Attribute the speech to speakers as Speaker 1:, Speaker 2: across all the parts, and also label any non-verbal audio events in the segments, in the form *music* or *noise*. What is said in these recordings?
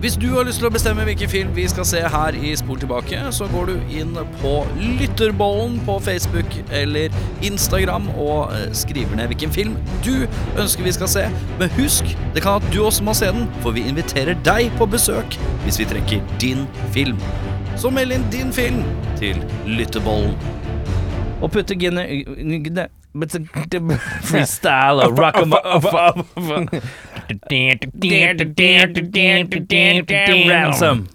Speaker 1: Hvis du har lyst til å bestemme hvilken film vi skal se her i Spol tilbake, så går du inn på Lytterbollen på Facebook eller Instagram og eh, skriver ned hvilken film du ønsker vi skal se. Men husk, det kan at du også må se den, for vi inviterer deg på besøk hvis vi trekker din film. Så meld inn din film til Lytterbollen. Og putte gene... Freestyle og rock Ransom.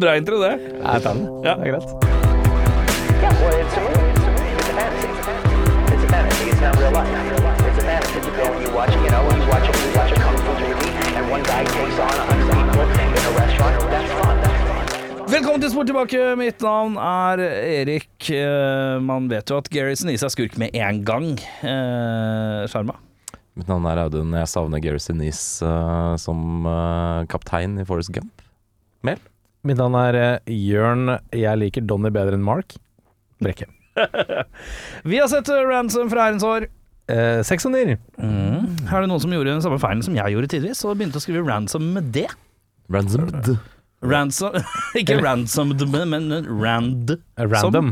Speaker 1: Bra intro, det.
Speaker 2: Jeg tar den. Det er greit.
Speaker 3: Yeah, well, it's a movie. It's a fantasy. It's a fantasy. It's not real life. It's a fantasy. You go and you watch, you know, you watch, you watch a kung fu movie, and one guy takes on a hundred people in a restaurant. That's fun. That's fun.
Speaker 1: Velkommen til Sport tilbake. Mitt navn er Erik. Eh, Man vet jo at Garrison Is er skurk med én gang. Eh, Sjarma.
Speaker 2: Mitt navn er Audun. Jeg savner Gary Sinise eh, som eh, kaptein i Forest Gump. Mel?
Speaker 4: Mitt navn er eh, Jørn. Jeg liker Donny bedre enn Mark. Brekke.
Speaker 1: Vi har sett eh, Ransom fra herrens år.
Speaker 4: Eh, Seks og nier.
Speaker 2: Mm.
Speaker 1: Er det noen som gjorde den samme feilen som jeg gjorde tidvis, og begynte å skrive Ransom med det?
Speaker 2: Ransomed.
Speaker 1: Ransom *laughs* Ikke ransomed, men men rand.
Speaker 4: Eh, Random.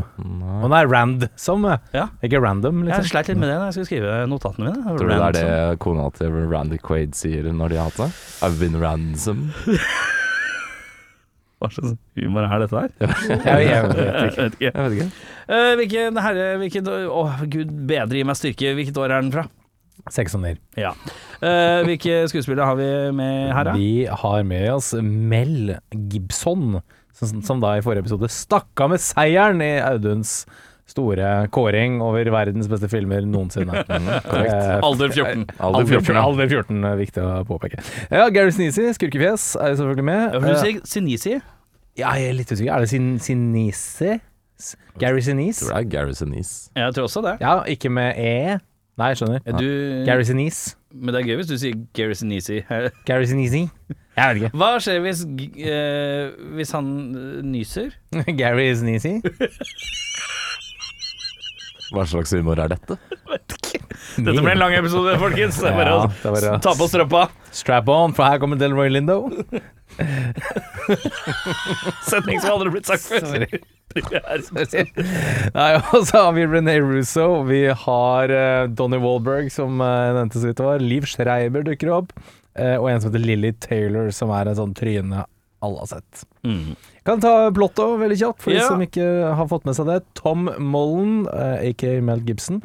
Speaker 4: Å nei, rand som. eh.
Speaker 1: Ja.
Speaker 4: Ikke random,
Speaker 1: Jeg
Speaker 4: liksom.
Speaker 1: sleit litt med det da jeg skulle skrive notatene mine.
Speaker 2: Tror du det er det kona til Randy Quaid sier når de har hatt det? I've been
Speaker 4: *laughs*
Speaker 2: ransom.
Speaker 1: Hva slags humor er dette her?
Speaker 4: Jeg, jeg, jeg,
Speaker 1: Jeg vet ikke.
Speaker 2: Jeg vet ikke.
Speaker 1: Eh, hvilken herre hvilket, Å, gud bedre gi meg styrke. Hvilket år er den fra?
Speaker 4: Seks og nier.
Speaker 1: Ja. Eh, hvilke skuespillere har vi med her, da?
Speaker 4: Vi har med oss Mel Gibson, som, som da i forrige episode stakk av med seieren i Auduns store kåring over verdens beste filmer noensinne. Eh,
Speaker 1: Alder 14.
Speaker 2: Alder 14, ja.
Speaker 4: Alder 14 er viktig å påpeke. Ja, Gary Sneezy, skurkefjes, er jo selvfølgelig med.
Speaker 1: Hva vil du
Speaker 4: Eh,
Speaker 1: si? Sinisi?
Speaker 4: Ja, jeg er litt usikker. Er det sin Sinise? Gary
Speaker 2: Tror
Speaker 4: Sinise?
Speaker 2: det er Gary Sinise.
Speaker 1: Jeg tror også det.
Speaker 4: Ja, ikke med E. Nei, jeg skjønner.
Speaker 1: Du,
Speaker 4: Gary Sinise.
Speaker 1: men det er gøy hvis du sier Gary Sinisi.
Speaker 4: Gary Sinise. *laughs* Jeg vet
Speaker 1: *laughs* Hva skjer hvis, g- eh, hvis han eh, nyser?
Speaker 4: ikke. Gary Sinise.
Speaker 2: Hva slags humor er dette?
Speaker 1: Dette ble en lang episode, folkens. Det er bare
Speaker 4: Ja,
Speaker 1: å
Speaker 4: det er bare å-
Speaker 1: ta på strømpa.
Speaker 4: *laughs* Strap on, for her kommer Delroy Lindo.
Speaker 1: Setning som aldri blitt sagt før. *laughs*
Speaker 4: Sorry. *laughs* Nei, og så har vi René Russo. Vi har eh, Donny Wahlberg, som eh, nevnte så vidt det var. Liv Schreiber dukker opp. eh, og en som heter Lily Taylor, som er en sånn tryne alle har sett.
Speaker 1: Mm.
Speaker 4: Kan ta Blotto veldig kjapt, for
Speaker 1: Ja.
Speaker 4: de som ikke har fått med seg det. Tom Mollen, eh, aka Mel Gibson.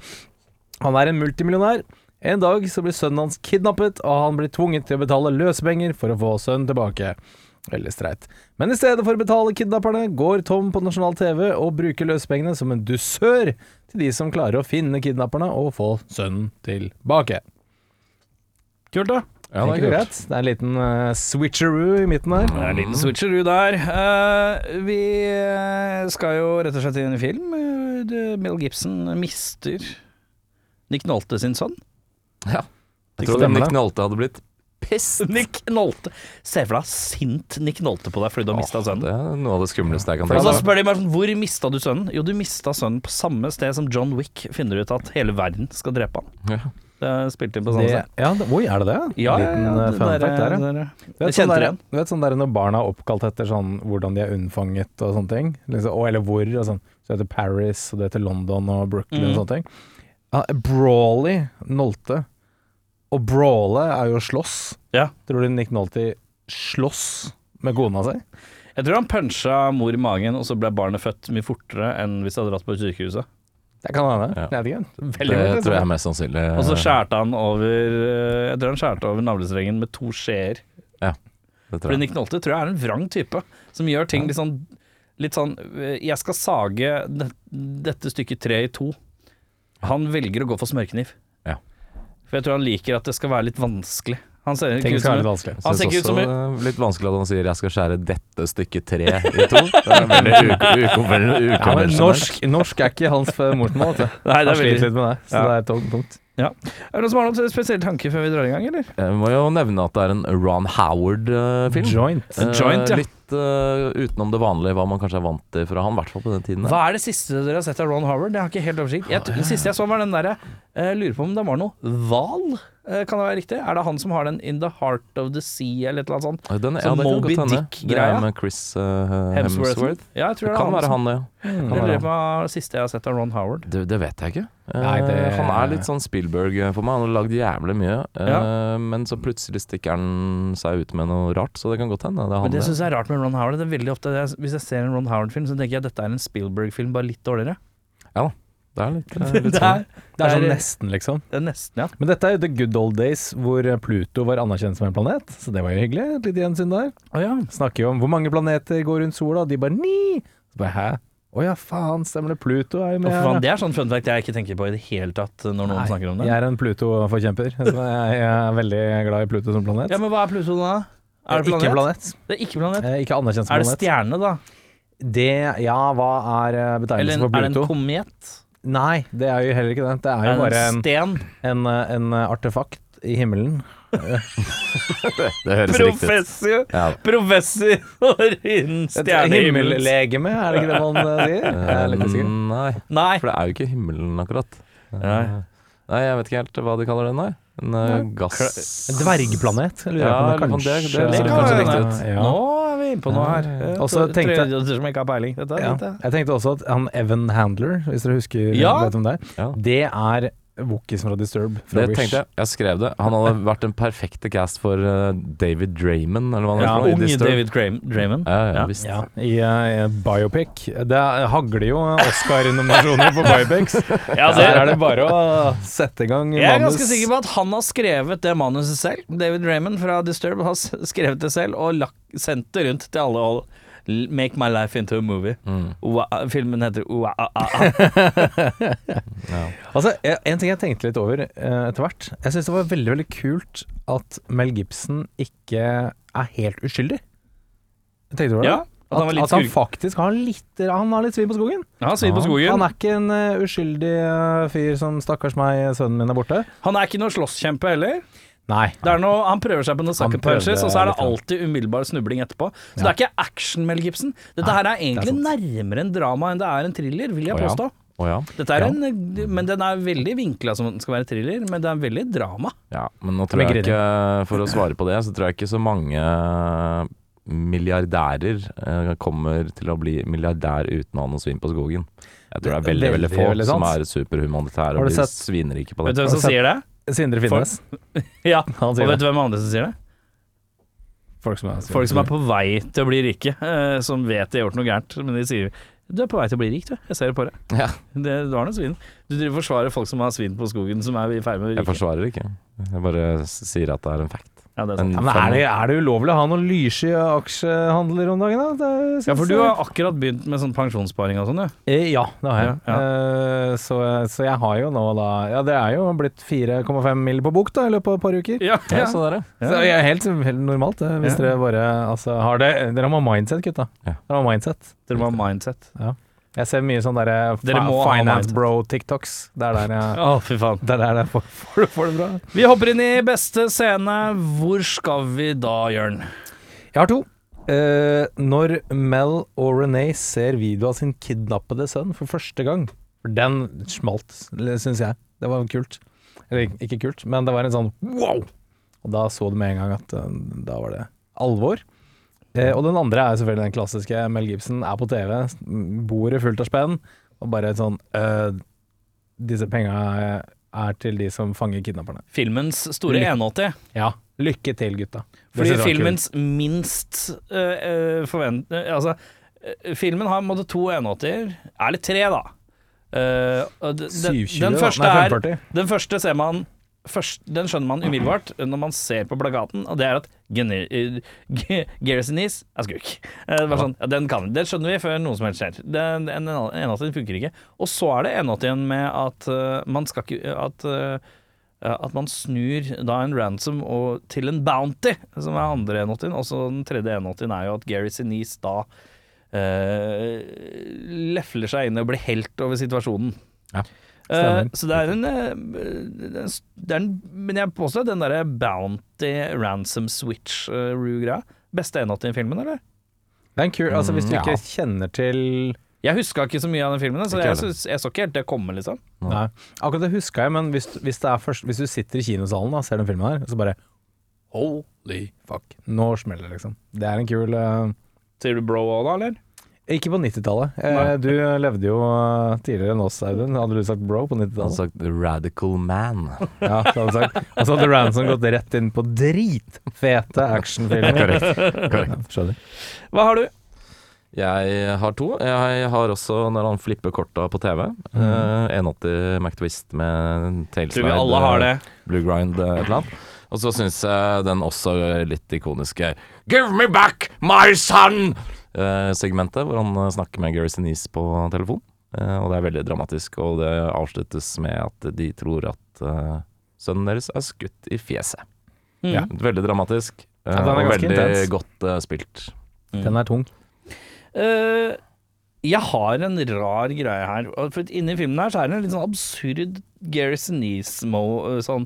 Speaker 4: Han er en multimillionær. En dag så blir sønnen hans kidnappet, og han blir tvunget til å betale løsepenger for å få sønnen tilbake. Veldig streit. Men i stedet for å betale kidnapperne, går Tom på nasjonal TV og bruker løsepengene som en dusør til de som klarer å finne kidnapperne og få sønnen tilbake.
Speaker 1: Kult, da.
Speaker 2: Ja,
Speaker 4: Ikke
Speaker 2: kult.
Speaker 4: greit? Det er en liten eh, switcheroo i midten her.
Speaker 1: Det er en liten switcheroo der. Eh, vi eh, skal jo rett og slett inn i film. Eh, det- Mel Gibson mister Nick Nolte sin sønn.
Speaker 2: Ja. Jeg
Speaker 4: Ikke
Speaker 2: tror
Speaker 4: stemmer
Speaker 2: Nick
Speaker 4: det.
Speaker 2: Nolte hadde blitt pissed.
Speaker 1: *laughs* Nick Nolte. Se for deg sint Nick Nolte på deg fordi du har mista sønnen.
Speaker 2: Det er noe av det skumleste jeg kan
Speaker 1: Og
Speaker 2: tenke
Speaker 1: så
Speaker 2: meg.
Speaker 1: spør de meg sånn, hvor mista du sønnen? Jo, du mista sønnen på samme sted som John Wick finner ut at hele verden skal drepe han.
Speaker 2: Ja.
Speaker 1: Det er spilt inn på samme
Speaker 4: Det,
Speaker 1: sted.
Speaker 4: ja, det, oi, er det det?
Speaker 1: Ja, ja,
Speaker 4: liten
Speaker 1: ja,
Speaker 4: eh,
Speaker 1: det
Speaker 4: fun
Speaker 1: der er-
Speaker 4: fact der, ja.
Speaker 1: der er-
Speaker 4: Du
Speaker 1: Jeg
Speaker 4: vet, sånn
Speaker 1: kjente
Speaker 4: der,
Speaker 1: igjen.
Speaker 4: du vet sånn der når barna er oppkalt etter sånn hvordan de er unnfanget og sånne ting? Liksom, og, eller hvor og sånn. Så heter Paris, og det heter London og Brooklyn og
Speaker 1: Mm.
Speaker 4: sånne ting. Ja, Brawley Nolte. Og brawle er jo å slåss.
Speaker 1: Ja.
Speaker 4: Tror du Nick Nolte slåss med kona si?
Speaker 1: Jeg tror han punsja mor i magen, og så ble barnet født mye fortere enn hvis det hadde dratt på sykehuset.
Speaker 4: Det kan hende.
Speaker 2: Ja.
Speaker 4: Jeg vet ikke. Veldig
Speaker 2: Det
Speaker 4: interessant.
Speaker 2: tror jeg er mest sannsynlig.
Speaker 1: Og så skjærte han over eh, Jeg tror han skjærte over navlestrengen med to skjeer.
Speaker 2: Det tror
Speaker 1: Fordi
Speaker 2: jeg.
Speaker 1: Nick Nolte tror jeg er en vrang type, som gjør ting litt sånn Litt sånn eh, Jeg skal sage det, dette stykket tre i to. Han velger å gå for smørkniv.
Speaker 2: Ja.
Speaker 1: For jeg tror han liker at det skal være litt vanskelig. Han ser ikke
Speaker 4: Ting
Speaker 1: ut
Speaker 4: skal
Speaker 1: som
Speaker 4: være litt
Speaker 1: en-
Speaker 4: vanskelig.
Speaker 1: Han
Speaker 2: Jeg
Speaker 1: ser ikke ut
Speaker 2: synes
Speaker 1: som
Speaker 2: også
Speaker 1: en
Speaker 2: det er litt vanskelig at han sier 'jeg skal skjære dette stykket tre i to'. Det er
Speaker 1: *laughs*
Speaker 2: veldig uko- ukonven-
Speaker 4: Ja, men
Speaker 2: ukonvensjonelt.
Speaker 4: norsk, norsk er ikke hans eh, morsmål. vet du.
Speaker 1: *laughs* Nei, det
Speaker 4: Han
Speaker 1: er
Speaker 4: sliter
Speaker 1: veldig
Speaker 4: litt med det, så
Speaker 1: Ja.
Speaker 4: det er et tungt punkt.
Speaker 1: Er det noen som har noen spesiell tanke før vi drar i gang, eller?
Speaker 2: Jeg må jo nevne at det er en Ron Howard-film.
Speaker 4: Joint.
Speaker 1: Joint, ja.
Speaker 2: Litt litt eh, utenom det vanlige hva man kanskje er vant til fra han, i hvert fall på den tiden. der.
Speaker 5: Hva er det siste dere har sett av Ron Howard? Jeg har ikke helt oversikt. Jeg, tror- det siste jeg så, var den derre eh, Lurer på om det var noe hval? Eh, kan det være riktig? Er det han som har den In the Heart of the Sea, eller et eller annet sånt?
Speaker 2: Den,
Speaker 5: Sånn
Speaker 2: det kan godt
Speaker 5: Moby
Speaker 2: hende. Det
Speaker 5: Dick-greia?
Speaker 2: er med Chris eh,
Speaker 5: Hemsworth.
Speaker 2: Hemsworth.
Speaker 5: Ja, jeg tror
Speaker 2: Det kan
Speaker 5: det er han.
Speaker 2: være han, det.
Speaker 5: som-
Speaker 1: Mm.
Speaker 5: Jeg
Speaker 2: Kan være
Speaker 5: lurer
Speaker 2: han.
Speaker 5: på hva det siste jeg har sett av Ron Howard.
Speaker 2: Det, det vet jeg ikke. Eh,
Speaker 5: Nei, det-
Speaker 2: Han er litt sånn Spielberg eh, for meg. Han har lagd jævlig mye. eh,
Speaker 5: Ja.
Speaker 2: Men så plutselig stikker han seg ut med noe rart, så det kan godt hende. Det er
Speaker 5: Men
Speaker 2: han,
Speaker 5: det
Speaker 2: det
Speaker 5: syns jeg er rart med Ron Howard. Det er veldig ofte det, er- Hvis jeg ser en Ron Howard-film, så tenker jeg at dette er en Spielberg-film, bare litt dårligere.
Speaker 2: det
Speaker 5: *laughs*
Speaker 2: er litt, eh,
Speaker 5: Det er,
Speaker 2: litt sånn.
Speaker 5: det er-
Speaker 4: nesten, liksom.
Speaker 5: det er nesten, ja.
Speaker 4: Men dette er jo the good old days hvor eh, Pluto var anerkjent som en planet, så det var jo hyggelig. Et lite gjensyn der.
Speaker 5: Å ja.
Speaker 4: Snakker jo om hvor mange planeter går rundt sola, og de bare ni! Så bare hæ? Å ja, faen, stemmer det. Pluto er jo
Speaker 5: Å,
Speaker 4: med.
Speaker 5: for
Speaker 4: her,
Speaker 5: faen,
Speaker 4: ja.
Speaker 5: det er sånn fun fact jeg ikke tenker på i det hele tatt når noen snakker om det.
Speaker 4: Jeg er en Pluto-forkjemper. så Jeg jeg er veldig glad i Pluto som planet. Eh,
Speaker 5: Ja, Men hva er Pluto da? Er det planet?
Speaker 4: Ikke planet.
Speaker 5: Det er ikke planet.
Speaker 4: Eh, Ikke anerkjent som
Speaker 5: Er det
Speaker 4: planet.
Speaker 5: stjerne, da?
Speaker 4: Det, ja, hva er eh,
Speaker 5: Eller
Speaker 4: betegnelsen
Speaker 5: en,
Speaker 4: for
Speaker 5: er det en
Speaker 4: Pluto?
Speaker 5: komet?
Speaker 4: Nei, det er jo heller ikke det. Det er jo
Speaker 5: Er det
Speaker 4: bare
Speaker 5: en
Speaker 4: en,
Speaker 5: sten?
Speaker 4: en, eh, en artefakt i himmelen.
Speaker 2: Det høres riktig ut.
Speaker 5: Professor!
Speaker 2: Ja.
Speaker 5: Professor innen
Speaker 4: Et
Speaker 5: stjernehimmel.
Speaker 4: himmellegeme, er det ikke det man eh,
Speaker 2: *laughs*
Speaker 4: sier? Jeg er litt usikker.
Speaker 2: Mm, Nei,
Speaker 5: Nei.
Speaker 2: for det er jo ikke himmelen, akkurat. Eh,
Speaker 5: Nei.
Speaker 2: Nei, jeg vet ikke helt hva de kaller den, nei. En eh, gass...
Speaker 4: En Dvergplanet, lurer jeg
Speaker 2: Ja,
Speaker 4: på om
Speaker 2: eller
Speaker 4: det
Speaker 2: sånn,
Speaker 4: kanskje
Speaker 2: det- det-
Speaker 5: Det
Speaker 2: det
Speaker 5: kan
Speaker 2: kanskje
Speaker 5: være
Speaker 2: riktig
Speaker 5: det.
Speaker 2: ut.
Speaker 4: Ja.
Speaker 5: Nå er vi inne på noe her.
Speaker 4: Ja. Og så
Speaker 5: Tre-
Speaker 4: tenkte jeg-
Speaker 5: tredjedel som ikke har peiling. Dette er
Speaker 4: Ja.
Speaker 5: dette.
Speaker 4: Jeg tenkte også at han Evan Handler, hvis dere husker
Speaker 5: Ja.
Speaker 4: vet om det,
Speaker 2: Ja.
Speaker 4: det er Wookiesen fra Disturb. Fra
Speaker 2: Det tenkte jeg. Jeg skrev det. Han hadde vært den perfekte cast for eh, David Draymond, eller hva han
Speaker 4: Ja,
Speaker 2: heter. for noe, i
Speaker 5: Ung
Speaker 2: Disturbed.
Speaker 5: David Graham, Draymond.
Speaker 2: Ja, ja,
Speaker 5: Ja.
Speaker 2: visst.
Speaker 4: Ja, i, eh, biopic. Det er- hagler jo Oscar-nominasjoner på *laughs* biopics.
Speaker 5: Ja,
Speaker 4: Så her er det bare å sette i gang
Speaker 5: *laughs* jeg er ganske sikker på at han har skrevet det manuset selv. David Raymond fra Disturb har s- skrevet det selv og lagt, sendt det rundt til alle. og l- Make my life into a movie.
Speaker 2: Mm.
Speaker 5: Wa- filmen heter Wa- a- a- a.
Speaker 4: Altså, jeg- en ting jeg tenkte litt over eh, etter hvert. Jeg syns det var veldig veldig kult at Mel Gibson ikke er helt uskyldig. Jeg tenkte over det.
Speaker 5: Ja, at han var litt
Speaker 4: at han
Speaker 5: skurk.
Speaker 4: faktisk har litt, han har litt svin på skogen.
Speaker 5: Han sier på skogen.
Speaker 4: Han er ikke en eh, uskyldig eh, fyr som 'stakkars meg, sønnen min er borte'.
Speaker 5: Han er ikke noen slåsskjempe heller.
Speaker 4: Nei.
Speaker 5: Det er noe, han prøver seg på noen sucker
Speaker 4: Han prøvde
Speaker 5: punches, og så er det
Speaker 4: litt, ja.
Speaker 5: alltid umiddelbar snubling etterpå. Så det er ikke action, Mel Gibson. Dette her er egentlig nærmere en drama enn det er en thriller, vil jeg
Speaker 2: Å ja.
Speaker 5: påstå.
Speaker 2: Å ja.
Speaker 5: Dette er en, eh, men den er veldig vinkla som den skal være thriller, men det er veldig drama.
Speaker 2: ja. Men nå tror
Speaker 4: Men
Speaker 2: jeg ikke, for å svare på det, så tror jeg ikke så mange eh, milliardærer eh, kommer til å bli milliardær uten å ha noe svin på skogen. Jeg tror det er veldig, veldig,
Speaker 4: Veldig,
Speaker 2: få
Speaker 4: veldig sant.
Speaker 2: som er superhumanitære
Speaker 4: Har
Speaker 2: og
Speaker 4: du
Speaker 2: blir
Speaker 4: sett-
Speaker 2: svinrike på
Speaker 5: Vet du
Speaker 2: det.
Speaker 5: hvem som
Speaker 4: sett-
Speaker 5: sier det?
Speaker 4: Sindre Finnes.
Speaker 5: Ja,
Speaker 4: *laughs* Han
Speaker 5: Og
Speaker 4: sier
Speaker 5: vet
Speaker 4: det.
Speaker 5: du hvem andre som sier det?
Speaker 4: Folk som er,
Speaker 5: Folk som er på vei til å bli rike, eh, som vet de har gjort noe gærent, men de sier du er på vei til å bli rik, du. Jeg ser det på deg.
Speaker 2: Ja.
Speaker 5: Det, du har noe svin. Du driver og forsvarer folk som har svin på skogen, som er i ferd med å bli
Speaker 2: Jeg
Speaker 5: rike.
Speaker 2: forsvarer ikke. Jeg bare s- sier at det er en fact.
Speaker 5: Ja, det er sant.
Speaker 2: En
Speaker 4: ja, men er, det,
Speaker 2: fun-
Speaker 4: er det ulovlig å ha noen lyssky aksjehandler om dagen, da? Det synes
Speaker 5: Ja, for du
Speaker 4: jeg-
Speaker 5: har akkurat begynt med sånn pensjonssparing og sånn, du.
Speaker 4: Eh, Ja, det har jeg.
Speaker 5: Ja, ja.
Speaker 4: Eh, Så, så jeg har jo nå da Ja, det er jo blitt 4,5 mil på bok da, i løpet av et par uker.
Speaker 5: Ja,
Speaker 2: Ja, så der, ja.
Speaker 4: Så jeg er helt, helt normalt, det, hvis
Speaker 5: Ja.
Speaker 4: dere bare altså, har det. Dere må ha mindset, gutta.
Speaker 2: Ja.
Speaker 4: Dere må ha mindset.
Speaker 5: Dere må ha mindset.
Speaker 4: Jeg ser mye sånn derre
Speaker 5: Dere
Speaker 4: fi-
Speaker 5: må ha mindset.
Speaker 4: finance bro-tiktoks. Det er
Speaker 5: *laughs*
Speaker 4: der jeg
Speaker 5: Å, fy faen.
Speaker 4: Det er der jeg får, får, får det bra.
Speaker 5: Vi hopper inn i beste scene. Hvor skal vi da, Jørn?
Speaker 4: Jeg har to. Eh, når Mel og Renee ser video av sin kidnappede sønn for første gang For den smalt, syns jeg. Det var kult. Eller ik- ikke kult, men det var en sånn wow! Og da så du med en gang at eh, da var det alvor. Eh, og den andre er selvfølgelig den klassiske Mel Gibson er på TV, m, bordet fullt av spenn, og bare et sånn eh, Disse penga er til de som fanger kidnapperne.
Speaker 5: Filmens store
Speaker 4: Lykke.
Speaker 5: 180.
Speaker 4: Ja, lykke til, gutta. Det
Speaker 5: Fordi
Speaker 4: synes jeg var kult.
Speaker 5: filmens minst øh, øh, forvent... øh, altså, øh, filmen har på en måte to 180-er. Eller tre, da. Øh, og d- den,
Speaker 4: 720,
Speaker 5: den,
Speaker 4: da.
Speaker 5: første
Speaker 4: Nei,
Speaker 5: er,
Speaker 4: 540.
Speaker 5: den første ser man først, Den skjønner man umiddelbart når man ser på plakaten, og det er at Gener- øh, Ge- Garrison Ease er skurk. Eh, Det, var sånn, ja, den kan, vi. det skjønner vi før noe som helst skjer. Den, en, en, 180 funker ikke. Og så er det 180-en med at øh, man skal ikke At øh, Eh, at man snur da en ransom og, til en bounty, som er andre 180-en. Og så den tredje 180-en er jo at Gary Sinise da eh, lefler seg inn og blir helt over situasjonen.
Speaker 2: Ja,
Speaker 5: Eh,
Speaker 4: stemmer.
Speaker 5: så det er en, eh, det er en s- det er en Men jeg påstår at den eh, derre bounty ransom switch-greia Beste 180-en i filmen, eller?
Speaker 4: Det er en kul, altså Hvis du
Speaker 2: Mm, ja.
Speaker 4: ikke kjenner til
Speaker 5: Jeg huska ikke så mye av den filmen, så
Speaker 2: Ikke
Speaker 5: jeg,
Speaker 2: heller.
Speaker 5: synes, jeg så ikke helt det komme, liksom.
Speaker 4: Nei, akkurat det huska jeg, men hvis, hvis, det er først, hvis du sitter i kinosalen og ser den filmen her, så bare
Speaker 1: Holy fuck.
Speaker 4: Nå smeller det, liksom. Det er en kul eh,
Speaker 5: Sier du bro òg, da, eller?
Speaker 4: Ikke på 90-tallet. Eh,
Speaker 5: Nei.
Speaker 4: du levde jo eh, tidligere enn oss, Audun. Hadde du sagt bro på
Speaker 2: Han
Speaker 4: 90-tallet?
Speaker 2: har sagt 'radical man'.
Speaker 4: Ja, det hadde du sagt. Og så hadde Ransom gått rett inn på dritfete actionfilmer.
Speaker 2: Korrekt.
Speaker 4: Skjønner.
Speaker 5: Hva har du?
Speaker 2: Jeg har to. Jeg har også når han flipper korta på TV. eh, 180 McTwist med tailslide.
Speaker 5: Tror vi alle har det.
Speaker 2: Blue Grind eh, et eller annet. Og så syns jeg den også litt ikoniske 'Give me back my son'-segmentet, hvor han eh, snakker med Gary Sinise på telefon. Eh, og det er veldig dramatisk, og det avsluttes med at de tror at eh, sønnen deres er skutt i fjeset.
Speaker 5: Mm.
Speaker 2: Ja. Veldig dramatisk, eh,
Speaker 4: den er
Speaker 2: og
Speaker 4: ganske
Speaker 2: veldig
Speaker 4: intens.
Speaker 2: godt eh, spilt.
Speaker 4: Den er tung.
Speaker 5: Eh, jeg har en rar greie her. og For Inni filmen her så er det en litt sånn absurd Gary Sinise-mo. Sånn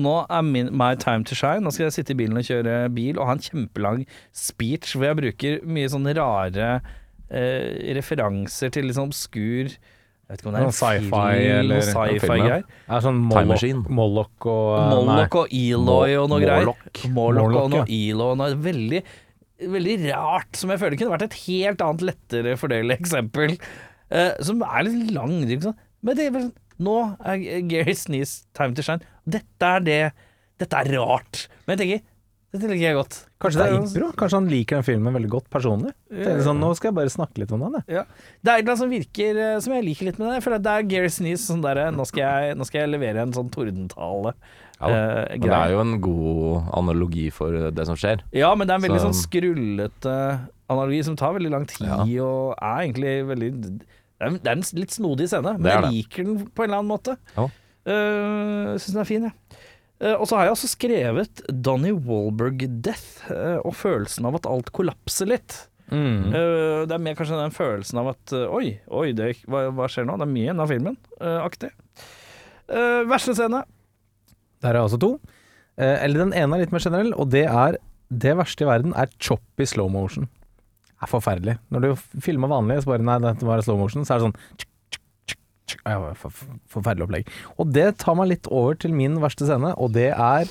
Speaker 5: Nå er min, my time to shine. Nå skal jeg sitte i bilen og kjøre bil og ha en kjempelang speech hvor jeg bruker mye sånne rare eh, referanser til litt sånn obskur Jeg vet ikke om det er en
Speaker 4: Sånn sci-fi
Speaker 5: film,
Speaker 4: eller-
Speaker 5: noe sci-fi-greier.
Speaker 4: Det er sånn
Speaker 2: Time Machine.
Speaker 4: Moloch, Moloch og eh,
Speaker 5: Moloch og Eloy og noe greier.
Speaker 2: Morlock.
Speaker 5: Morlock og
Speaker 4: Morlock,
Speaker 5: noe Elo og noe veldig, veldig rart, som jeg føler kunne vært et helt annet lettere fordelig eksempel. eh, som er litt lang. Liksom. Men det er vel, nå er Gary Sneeze time to shine. Dette er det Dette er rart. Men jeg tenker, dette liker jeg godt.
Speaker 4: Kanskje det er
Speaker 5: Dette
Speaker 4: impro? Kanskje han liker den filmen veldig godt personlig? Det er litt sånn, nå skal jeg bare snakke litt om den, jeg.
Speaker 5: Ja. Det er et eller annet som virker eh, som jeg liker litt med det. Jeg føler at det er Gary Sneeze sånn derre nå, skal jeg- nå skal jeg levere en sånn tordentale.
Speaker 2: Ja da.
Speaker 5: eh,
Speaker 2: Men det er jo en god analogi for eh, det som skjer.
Speaker 5: Ja, men det er en veldig
Speaker 2: Så-
Speaker 5: sånn skrullete analogi som tar veldig lang tid, og er egentlig veldig Det er, det er en s- litt snodig scene, men
Speaker 2: Det er
Speaker 5: jeg liker den på en eller annen måte.
Speaker 2: Ja.
Speaker 5: Eh, Syns den er fin, jeg. Eh, og så har jeg også skrevet Donny Wahlberg-death, eh, og følelsen av at alt kollapser litt.
Speaker 2: Mm.
Speaker 5: Eh, det er mer kanskje den følelsen av at eh, oi, oi, det, hva, hva skjer nå? Det er mye igjen av filmen, eh, aktig. Eh, verste scene.
Speaker 4: Der er altså to. Eh, eller den ene er litt mer generell, og det er Det verste i verden er choppy slow motion. Det er forferdelig. Når du f- filmer vanlig, så bare Nei, dette var slow motion. Så er det sånn tsk, tsk, tsk, tsk. Ja, det var for- Forferdelig opplegg. Og det tar meg litt over til min verste scene, og det er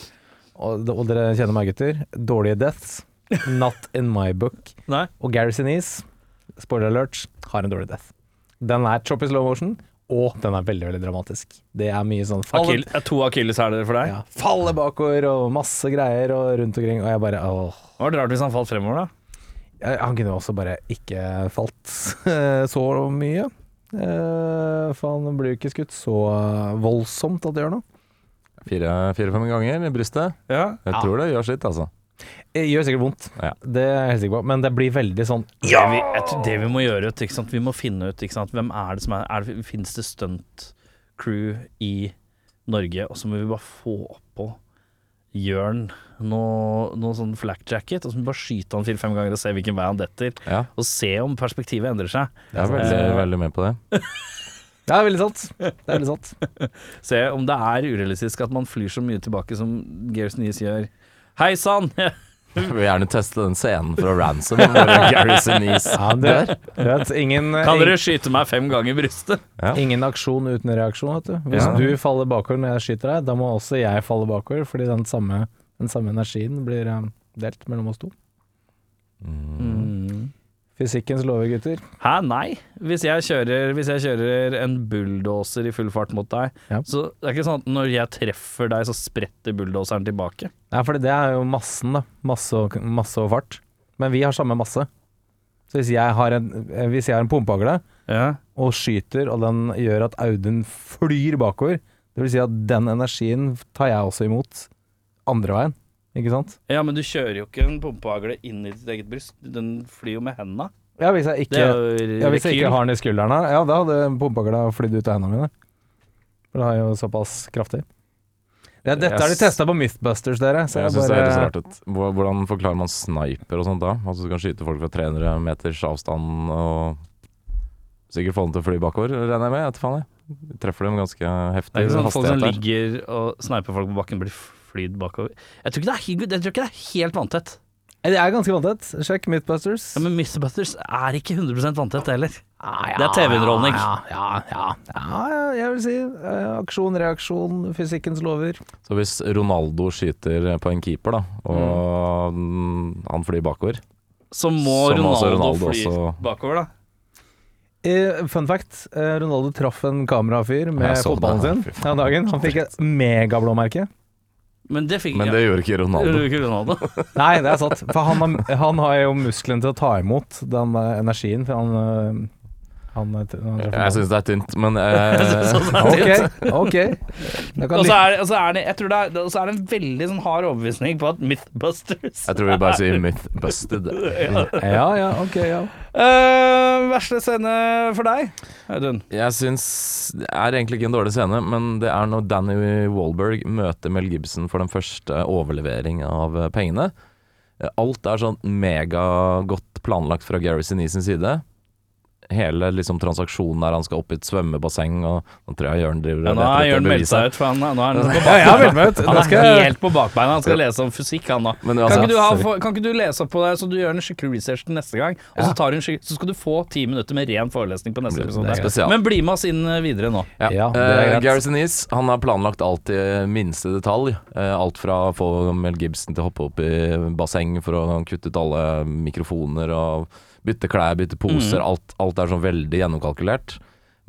Speaker 4: Og, og dere kjenner meg, gutter. Dårlige deaths. Not in my book.
Speaker 5: Nei.
Speaker 4: Og Gary Sinise, spoiler alert, har en dårlig death. Den er choppy slow motion, og den er veldig, veldig dramatisk. Det er mye sånn fuck it.
Speaker 5: to akilleshæler for deg.
Speaker 4: Ja, faller bakover og masse greier og rundt omkring, og jeg bare åh.
Speaker 5: Det var rart hvis han falt fremover, da.
Speaker 4: Jeg- Han kunne også bare ikke falt så mye. Eh, For han blir jo ikke skutt så voldsomt at det gjør noe.
Speaker 2: Fire- Fire-fem ganger i brystet.
Speaker 5: Ja.
Speaker 2: Jeg tror det gjør sitt, altså.
Speaker 4: Det gjør sikkert vondt,
Speaker 2: Ja.
Speaker 4: det er jeg helt sikker på, men det blir veldig sånn
Speaker 5: Ja! Det, vi, jeg tror det vi må gjøre, ut, ikke sant? vi må finne ut ikke sant? hvem er det som er, er det, Finnes det stunt-crew i Norge? Og så må vi bare få oppå Jørn noe, noe sånn flakjacket, og så må vi bare skyte han fire-fem ganger og se hvilken vei han detter.
Speaker 2: Ja,
Speaker 5: Og se om perspektivet endrer seg.
Speaker 2: jeg er veldig,
Speaker 5: Eh,
Speaker 2: veldig med på det.
Speaker 4: Det er veldig sant. Det er veldig sant.
Speaker 5: Se om det er urealistisk at man flyr så mye tilbake som Gears Nies gjør. Hei sann! *laughs*
Speaker 2: Jeg vil gjerne teste den scenen fra Ransom hvor Gary Sinise
Speaker 4: *laughs* Ja,
Speaker 2: dør.
Speaker 4: det, du vet, ingen,
Speaker 5: Kan dere skyte meg fem ganger i brystet?
Speaker 4: ingen aksjon uten reaksjon, vet du. Hvis
Speaker 2: Ja.
Speaker 4: du faller bakover når jeg skyter deg, da må også jeg falle bakover, fordi den samme, den samme energien blir eh, delt mellom oss to.
Speaker 5: Mm.
Speaker 4: Fysikkens lover, gutter.
Speaker 5: Hæ, nei. Hvis jeg kjører, hvis jeg kjører en bulldoser i full fart mot deg,
Speaker 4: Ja.
Speaker 5: så det er ikke sånn at når jeg treffer deg, så spretter bulldoseren tilbake.
Speaker 4: Nei, for det er jo massen, da. Masse og, masse og fart. Men vi har samme masse. Så hvis jeg har en, eh, hvis jeg har en pumpehagle
Speaker 5: Ja.
Speaker 4: og skyter, og den gjør at Audun flyr bakover, det vil si at den energien tar jeg også imot andre veien, ikke sant?
Speaker 5: ja, men du kjører jo ikke en pumpehagle inn i ditt eget bryst. Den flyr jo med henda.
Speaker 4: Ja, hvis jeg
Speaker 5: Det er
Speaker 4: ikke,
Speaker 5: jo
Speaker 4: ja, hvis jeg
Speaker 5: rekyl.
Speaker 4: ikke har den i skulderen her, ja, da hadde pumpehagla flydd ut av hendene mine. For det er jo såpass kraftig. Ja, dette har de
Speaker 2: Jeg s-
Speaker 4: testa på Mythbusters, dere. Så
Speaker 2: Jeg
Speaker 4: jeg,
Speaker 2: synes det høres
Speaker 4: bare
Speaker 2: rart ut. Hvor- Hvordan forklarer man sniper og sånt da? Altså du kan skyte folk fra 300 meters avstand og sikkert få dem til å fly bakover, regner jeg med. Jeg vet faen jeg. Treffer dem ganske heftig
Speaker 5: Det er ikke sånn at folk som
Speaker 2: hastighet der.
Speaker 5: ligger og sneiper folk på bakken, blir flydd bakover. Jeg tror ikke det er, jeg tror ikke det er helt vanntett.
Speaker 4: Det er ganske vanntett. Sjekk Mythbusters. Ah,
Speaker 5: Ja, men Mythbusters er ikke 100 vanntett heller. Det er TV-underholdning.
Speaker 4: Ja, ja, ja, ja, jeg vil si eh, aksjon, reaksjon, fysikkens lover.
Speaker 2: Så hvis Ronaldo skyter på en keeper, da, og mm, han flyr bakover
Speaker 5: Så må
Speaker 2: Som
Speaker 5: Ronaldo,
Speaker 2: altså Ronaldo
Speaker 5: fly
Speaker 2: også-
Speaker 5: bakover, da.
Speaker 4: Eh, fun fact, eh, Ronaldo traff en kamerafyr med
Speaker 2: Jeg så det.
Speaker 4: fotballen sin
Speaker 2: Fy faen.
Speaker 4: den dagen. Han fikk et megablåmerke.
Speaker 5: Men det fikk
Speaker 2: Men det gjorde ikke
Speaker 5: *laughs*
Speaker 2: Ronaldo.
Speaker 5: ikke Ronaldo.
Speaker 4: Nei, det er sant. For han, har- han har jo musklene til å ta imot den eh, energien. For han, eh, han, eh, t- han traff
Speaker 2: Jeg
Speaker 5: altså,
Speaker 2: syns det er tynt,
Speaker 5: *laughs*
Speaker 2: men eh,
Speaker 5: sånn-
Speaker 4: Ok, ok. Da kan
Speaker 5: Og så
Speaker 4: lyt-
Speaker 5: er, det- og så er det jeg tror det er, og så er det en veldig sånn hard overbevisning på at Mythbusters
Speaker 2: jeg tror vi bare sier mythbusted.
Speaker 4: Ja, ja, ok, ja.
Speaker 5: Eh, Verste scene for deg, Audun?
Speaker 2: Jeg syns det er egentlig ikke en dårlig scene, men det er når Danny Wahlberg møter Mel Gibson for den første overlevering av eh, pengene. Eh, Alt er sånn megagodt planlagt fra Gary Sinise sin side. Hele liksom transaksjonen der han skal opp i et svømmebasseng, og nå tror jeg Jørn driver
Speaker 5: Ja,
Speaker 2: og
Speaker 5: nå har
Speaker 2: leter
Speaker 5: Jørn
Speaker 2: etter
Speaker 5: meldt seg
Speaker 2: beviset.
Speaker 5: ut, for han, nå er han på
Speaker 4: Jeg har meldt meg ut. Da
Speaker 5: Han
Speaker 4: skal
Speaker 5: er
Speaker 4: jeg
Speaker 5: helt på bakbeina. Han skal lese om fysikk, han da.
Speaker 2: Men
Speaker 5: Kan
Speaker 2: uansett,
Speaker 5: ikke, du ha, for- kan ikke du lese opp på det, så du gjør en skikkelig research til neste gang? Og så, tar du en skikk- så skal du få ti minutter med ren forelesning på neste
Speaker 2: Det er
Speaker 5: episode.
Speaker 2: spesial.
Speaker 5: Men bli med oss inn eh, videre nå.
Speaker 2: Ja.
Speaker 4: Ja, det er
Speaker 2: Eh,
Speaker 4: greit.
Speaker 2: Gary Sinise han har planlagt alt i minste detalj. Eh, alt fra å få Mel Gibson til å hoppe opp i basseng for å kutte ut alle mikrofoner og bytte klær, bytte poser.
Speaker 4: Mm.
Speaker 2: Alt, alt er sånn veldig gjennomkalkulert.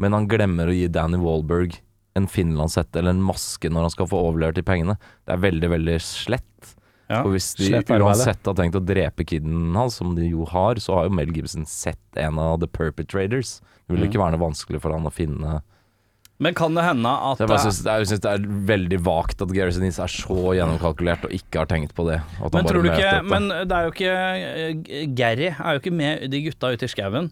Speaker 2: Men han glemmer å gi Danny Wahlberg en finlandshette eller en maske når han skal få overlevert de pengene. Det er veldig, veldig slett.
Speaker 5: Ja,
Speaker 2: Og hvis de
Speaker 4: slett arbeid.
Speaker 2: uansett har tenkt å drepe kiden hans, som de jo har, så har jo Mel Gibson sett en av the perpetrators. Det
Speaker 4: Mm.
Speaker 2: vil ikke være noe vanskelig for han å finne
Speaker 5: Men kan det hende at
Speaker 2: så jeg bare synes, jeg synes det er veldig vagt at Garrison Ease er så gjennomkalkulert og ikke har tenkt på det. At han
Speaker 5: Men
Speaker 2: bare
Speaker 5: tror du ikke
Speaker 2: møter opp, da.
Speaker 5: Men det er jo ikke eh, Gary er jo ikke med de gutta ute i skauen.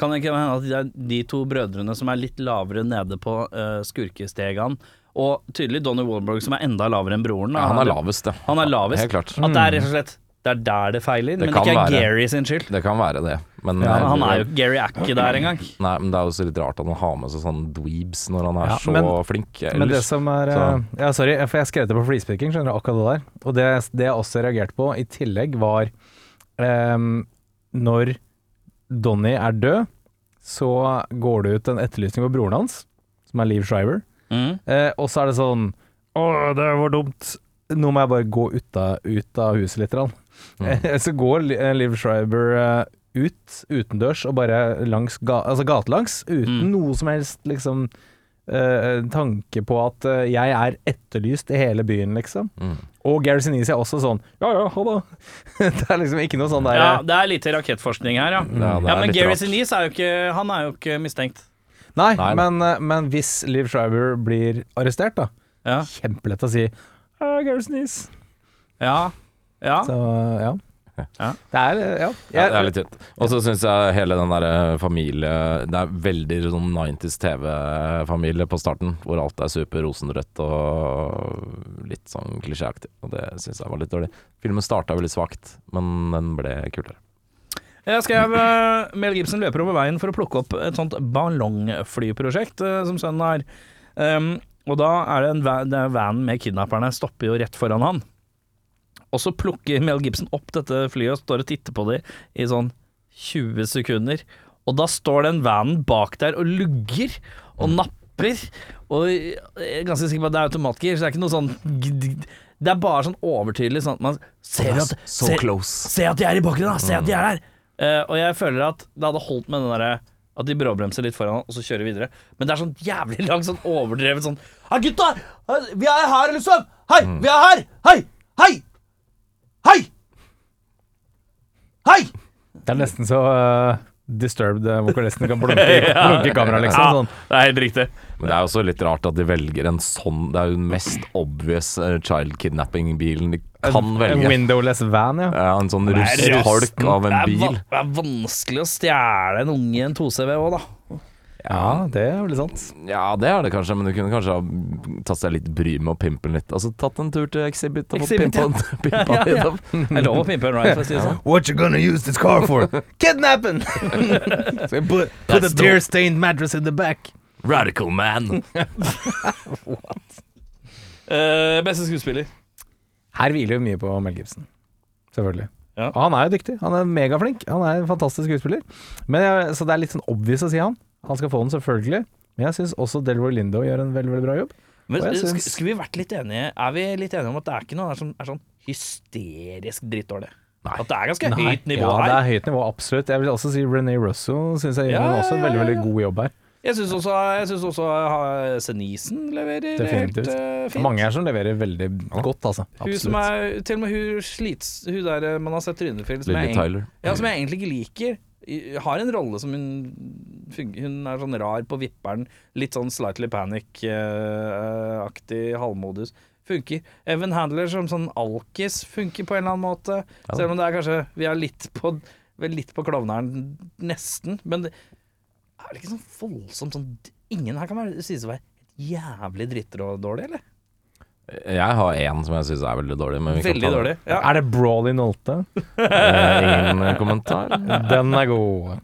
Speaker 5: Kan det ikke hende at det er de to brødrene som er litt lavere nede på uh, skurkestegene, og tydelig Donny Wahlberg som er enda lavere enn broren da.
Speaker 2: ja, Han er lavest, ja.
Speaker 5: Han er lavest.
Speaker 2: Helt klart. Mm.
Speaker 5: At det er rett og slett Det er der det feiler, men det
Speaker 2: kan
Speaker 5: ikke er
Speaker 2: være.
Speaker 5: Gary sin skyld.
Speaker 2: Det kan være det. Men,
Speaker 5: Han, han er jo Gary er ikke der engang.
Speaker 2: Nei, men *laughs* det er jo så litt rart at han har med seg sånne dweebs når han er
Speaker 4: Ja,
Speaker 2: så
Speaker 4: men-
Speaker 2: flink.
Speaker 4: Men det
Speaker 2: Ellers
Speaker 4: som er
Speaker 2: Så-
Speaker 4: eh, Ja, sorry, for jeg skrev det på flispicking, skjønner du, akkurat det der. Og det, det jeg også reagerte på i tillegg, var ehm, Når Donny er død, så går det ut en etterlysning på broren hans, som er Liv Shriver,
Speaker 5: Mm.
Speaker 4: eh, og så er det sånn Å, det var dumt. Nå må jeg bare gå ut av, ut av huset litt. grann».
Speaker 2: Mm.
Speaker 4: så går Li- *laughs* eh, Liv Shriver eh, ut utendørs og bare langs ga altså gatelangs, uten
Speaker 5: Mm.
Speaker 4: noe som helst liksom eh, tanke på at eh, jeg er etterlyst i hele byen, liksom.
Speaker 2: Mm.
Speaker 4: Og Gary Sinise er også sånn Ja ja, ha det. *laughs* det er liksom ikke noe sånn der
Speaker 5: Ja, det er lite rakettforskning her, ja.
Speaker 2: Ja, Mm, det
Speaker 5: ja
Speaker 2: er
Speaker 5: men
Speaker 2: litt
Speaker 5: Gary
Speaker 2: rart.
Speaker 5: Sinise er jo ikke Han er jo ikke mistenkt.
Speaker 4: Nei,
Speaker 2: Nei.
Speaker 4: Men, eh, men hvis Liv Shriver blir arrestert, da,
Speaker 5: Ja.
Speaker 4: kjempelett å si «Ah, Gary Sinise.
Speaker 5: Ja. ja.
Speaker 4: Så ja.
Speaker 5: Ja.
Speaker 4: Det er eh, Ja.
Speaker 2: Ja, det
Speaker 4: Jeg-
Speaker 2: er litt tynt. Og så syns jeg hele den derre familie Det er veldig sånn 90s TV-familie på starten, hvor alt er super rosenrødt og litt sånn klisjéaktig. Og det syns jeg var litt dårlig. Filmen starta veldig svakt, men den ble kulere.
Speaker 5: Jeg skrev eh, Mel Gibson løper over veien for å plukke opp et sånt ballongflyprosjekt eh, som sønnen har. Ehm, og da er det en van, det er vanen med kidnapperne stopper jo rett foran han. Og så plukker Mel Gibson opp dette flyet og står og titter på det i sånn 20 sekunder. Og da står den vanen bak der og lugger og napper. Og jeg er ganske sikker på at det er automatgir, så det er ikke noe sånn g- g- Det er bare sånn overtydelig sånn at man ser at ser-
Speaker 2: close.
Speaker 5: Se at de er i bakgrunnen, da! Se at de er der! Eh, og jeg føler at det hadde holdt med den derre at de bråbremser litt foran han, og så kjører videre. Men det er sånn jævlig langt, sånn overdrevet sånn Hei, gutta! Hei, Vi er her, liksom! Hei, vi er her! Hei! Hei! Hei! Hei!
Speaker 4: Det er nesten så eh, disturbed eh, vokalisten kan blunke, *laughs* blunke i kamera, liksom. Sånn.
Speaker 5: det er helt riktig.
Speaker 2: Men det er også litt rart at de velger en sånn Det er jo den mest obvious eh, child kidnapping-bilen de kan
Speaker 4: En
Speaker 2: velge.
Speaker 4: windowless van, ja.
Speaker 2: Ja, en sånn rustholk av en bil.
Speaker 5: Det er vanskelig å stjele en unge i en 2CV òg, da.
Speaker 4: Ja, det er vel sant.
Speaker 2: Ja, det er det kanskje, men du kunne kanskje ha tatt seg litt bry med å pimpe den litt. Altså tatt en tur til Exhibit og fått
Speaker 5: Exhibit, ja.
Speaker 2: pimpa
Speaker 5: *laughs*
Speaker 2: den- pimpa
Speaker 5: Ja,
Speaker 2: den
Speaker 5: ja.
Speaker 2: litt opp.
Speaker 5: Det er lov å pimpe en ride, for å si det sånn.
Speaker 4: What you gonna use this car *laughs* for? Kidnapping! so put, put a tear-stained mattress in the back.
Speaker 2: Radical man!
Speaker 5: beste skuespiller? Eh,
Speaker 4: Her hviler jo mye på Mel Gibson. Selvfølgelig.
Speaker 5: Ja.
Speaker 4: Og han er jo dyktig. Han er megaflink. Han er en fantastisk skuespiller. Men jeg, så det er litt sånn obvious å si han. Han skal få den, selvfølgelig. Men jeg syns også Delroy Lindo gjør en veldig, veldig bra jobb.
Speaker 5: Men
Speaker 4: Og jeg
Speaker 5: sk-
Speaker 4: syns-
Speaker 5: skulle vi vært litt enige Er vi litt enige om at det er ikke noe som er sånn hysterisk drittdårlig? At det er ganske høyt nivå
Speaker 4: ja,
Speaker 5: her.
Speaker 4: det er høyt nivå, absolutt. Jeg vil også si René Russo syns jeg gjør
Speaker 5: Ja,
Speaker 4: også en
Speaker 5: ja,
Speaker 4: veldig,
Speaker 5: ja,
Speaker 4: veldig
Speaker 5: ja.
Speaker 4: god jobb her.
Speaker 5: Jeg syns også, jeg synes også eh, Senisen leverer
Speaker 4: Definitivt.
Speaker 5: helt eh, fint.
Speaker 4: Mange her som leverer veldig godt, altså.
Speaker 5: Hun som
Speaker 4: Absolutt.
Speaker 5: er, til og med hun slits Hun der eh, man har sett trynet til som,
Speaker 2: Lily
Speaker 5: jeg egentlig-
Speaker 2: Tyler.
Speaker 5: ja, som jeg egentlig ikke liker I- Har en rolle som hun fung- Hun er sånn rar på vipperen Litt sånn slightly panic-aktig halvmodus Funker Evan Handler som sånn alkis Funker på en eller annen måte
Speaker 2: da.
Speaker 5: Selv om det er kanskje Vi er litt på, vel litt på klovneren Nesten Men det er vel ikke sånn voldsomt sånn, Ingen her kan være, synes å være Jævlig dritter og dårlig, eller?
Speaker 2: Jeg har én som jeg syns er veldig dårlig. Men vi kan
Speaker 5: Veldig
Speaker 2: ta
Speaker 5: dårlig
Speaker 2: den.
Speaker 5: ja.
Speaker 4: Er det Brawley Nolte?
Speaker 2: Eh, ingen kommentar.
Speaker 4: Den er god.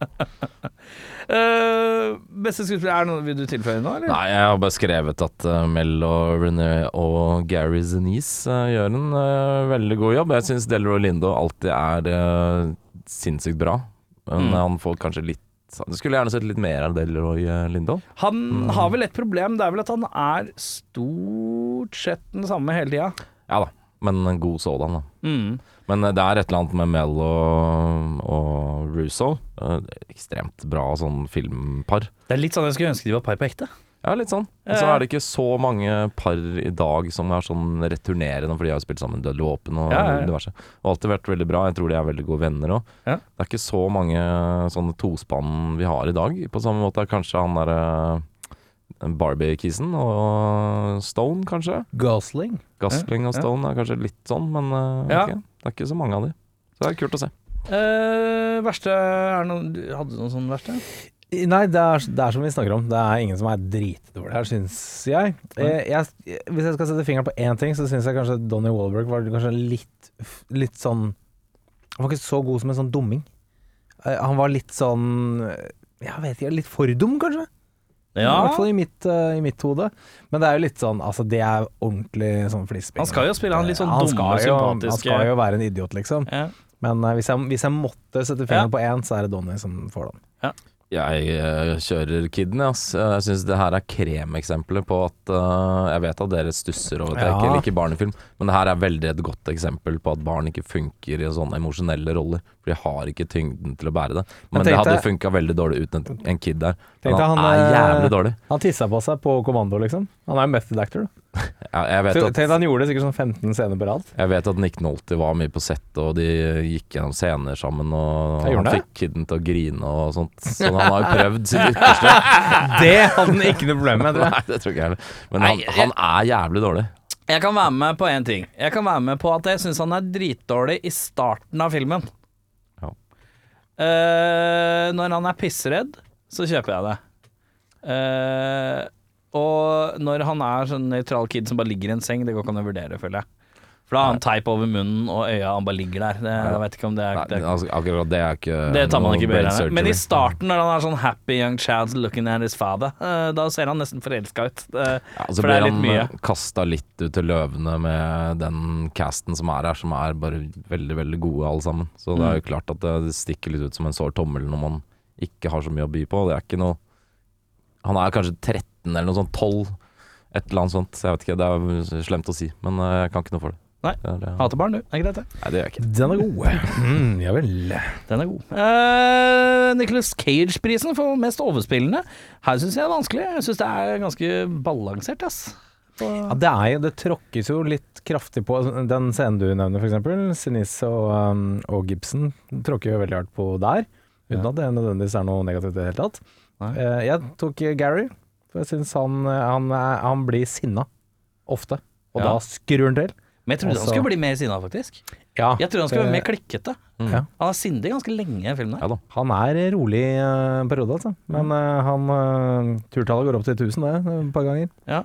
Speaker 5: Eh, beste skuespiller er det noe vil du tilføye nå, eller?
Speaker 2: Nei, jeg har bare skrevet at eh, Mel og René og Gary Zenise eh, gjør en eh, veldig god jobb. Jeg syns Delroy Lindo alltid er eh, sinnssykt bra, men
Speaker 5: Mm.
Speaker 2: han får kanskje litt jeg skulle gjerne sett litt mer av Delroy eh, Lindo.
Speaker 5: Han har vel et problem, det er vel at han er stort sett den samme hele tida.
Speaker 2: Ja da, men en god sådan, da.
Speaker 5: Mm.
Speaker 2: Men eh, det er et eller annet med Mel og, og Russo. Eh, Ekstremt bra sånn filmpar.
Speaker 5: Det er litt sånn jeg skulle ønske de var par på ekte.
Speaker 2: Ja, litt sånn. Og så er det ikke så mange par i dag som er sånn returnerende, for de har jo spilt sammen Dødelig våpen og
Speaker 5: Ja, ja, ja.
Speaker 2: diverse. Og alltid vært veldig bra. Jeg tror de er veldig gode venner òg.
Speaker 5: Ja.
Speaker 2: Det er ikke så mange sånne tospann vi har i dag. På samme måte er kanskje han derre eh, Barbie-kisen og Stone, kanskje.
Speaker 4: Gosling.
Speaker 2: Gasling og
Speaker 5: Ja, ja.
Speaker 2: Stone er kanskje litt sånn, men eh,
Speaker 5: Ja.
Speaker 2: ikke. det er ikke så mange av de. Så det er kult å se.
Speaker 5: Eh, verste er det noen, du- Hadde du noen sånne verste?
Speaker 4: Nei, det er, det er som vi snakker om. Det er ingen som er dritdårlig her, syns jeg. Eh, jeg. Hvis jeg skal sette fingeren på én ting, så syns jeg kanskje Donny Wahlberg var kanskje litt, litt sånn Han var ikke så god som en sånn dumming. Eh, Han var litt sånn Jeg vet ikke, litt for dum, kanskje? I hvert fall i mitt, eh, i mitt hode. Men det er jo litt sånn Altså, det er ordentlig sånn flisping.
Speaker 5: Han skal jo spille han litt sånn
Speaker 4: Ja, han
Speaker 5: dumme
Speaker 4: skal
Speaker 5: og
Speaker 4: jo- Han
Speaker 5: sympatiske
Speaker 4: skal jo være en idiot, liksom.
Speaker 5: ja.
Speaker 4: Men eh, hvis, jeg, hvis jeg måtte sette fingeren
Speaker 5: Ja.
Speaker 4: på én, så er det Donny som får den.
Speaker 2: Jeg eh, kjører kidden, ass. Eh, Jeg syns det her er kremeksempelet på at eh, Jeg vet at dere stusser over at jeg ikke
Speaker 4: Ja.
Speaker 2: liker barnefilm, men det her er veldig et godt eksempel på at barn ikke funker i sånne emosjonelle roller. For de har ikke tyngden til å bære det. Men
Speaker 4: Men
Speaker 2: det
Speaker 4: tenk deg-
Speaker 2: hadde funka veldig dårlig uten en, en kid der.
Speaker 4: Tenk
Speaker 2: Men
Speaker 4: deg
Speaker 2: han,
Speaker 4: han,
Speaker 2: er
Speaker 4: eh,
Speaker 2: jævlig dårlig.
Speaker 4: Han tissa på seg på kommando, liksom. Han er jo method actor. da.
Speaker 2: Jeg, jeg,
Speaker 4: Så,
Speaker 2: vet
Speaker 4: Tenk
Speaker 2: at,
Speaker 4: han gjorde det sikkert sånn 15 scener på rad.
Speaker 2: jeg vet at Nick Nolte var mye på settet, og de gikk gjennom scener sammen, og
Speaker 4: Jeg gjorde
Speaker 2: han
Speaker 4: det.
Speaker 2: fikk kidden til å grine og sånt. Så han har jo prøvd sitt ytterste.
Speaker 4: Det hadde han ikke noe problem med, tror jeg.
Speaker 2: Nei, det tror ikke jeg heller. Men han,
Speaker 5: Nei, jeg-
Speaker 2: han er jævlig dårlig.
Speaker 5: Jeg kan være med på én ting. Jeg kan være med på at jeg syns han er dritdårlig i starten av filmen.
Speaker 2: Ja.
Speaker 5: Eh, når han er pissredd, så kjøper jeg det. Eh, og når han er sånn nøytral kid som bare ligger i en seng, det går ikke an å vurdere, føler jeg. For da har han teip over munnen og øya, han bare ligger der. Det, jeg vet ikke om det er,
Speaker 2: Nei,
Speaker 5: det er
Speaker 2: altså, akkurat det er ikke
Speaker 5: det tar man
Speaker 2: noe
Speaker 5: ikke
Speaker 2: brain
Speaker 5: bedre enn. Men i
Speaker 2: surgery.
Speaker 5: starten, når han er sånn happy young child looking at his father, eh, da ser han nesten forelska ut. Eh,
Speaker 2: ja, så
Speaker 5: for det er
Speaker 2: blir
Speaker 5: litt mye.
Speaker 2: han kasta litt ut til løvene med den casten som er her, som er bare veldig, veldig gode alle sammen. Så det
Speaker 5: Mm.
Speaker 2: er jo klart at eh, det stikker litt ut som en sår tommel når man ikke har så mye å by på. Det er ikke noe Han er kanskje 13 eller noe sånt, 12, et eller annet sånt. Jeg vet ikke, det er slemt å si, men eh, jeg kan ikke noe for det.
Speaker 5: Nei.
Speaker 2: det, er, eh,
Speaker 5: Hater barn, du. Det er greit, det.
Speaker 2: nei, det gjør jeg ikke.
Speaker 4: Den er god. Mm, ja vel.
Speaker 5: Den er god. Eh, Nicolas Cage-prisen for mest overspillende. Her syns jeg det er vanskelig. Jeg syns det er ganske balansert, ass.
Speaker 4: Ja, det, er jo, det tråkkes jo litt kraftig på Altså, den scenen du nevner, f.eks. Sinise og, um, og Gibson tråkker jo veldig hardt på der, uten at det nødvendigvis er noe negativt i det hele tatt.
Speaker 5: Nei.
Speaker 4: Eh, jeg tok eh, Gary, for jeg syns han, eh, han, er- han blir sinna ofte. Og
Speaker 5: Ja.
Speaker 4: da skrur han til.
Speaker 5: Men jeg trodde han
Speaker 4: Altså-
Speaker 5: skulle bli mer sinna, faktisk.
Speaker 4: Ja,
Speaker 5: Jeg trodde han skulle være
Speaker 4: det-
Speaker 5: mer klikkete.
Speaker 4: Ja.
Speaker 5: Han er sindig ganske lenge i filmen. her
Speaker 2: Eh, mm. Ja da.
Speaker 4: Han er rolig eh, en periode, altså. Men eh, han eh, Turtallet går opp til 1000, det, et par ganger.
Speaker 5: Ja.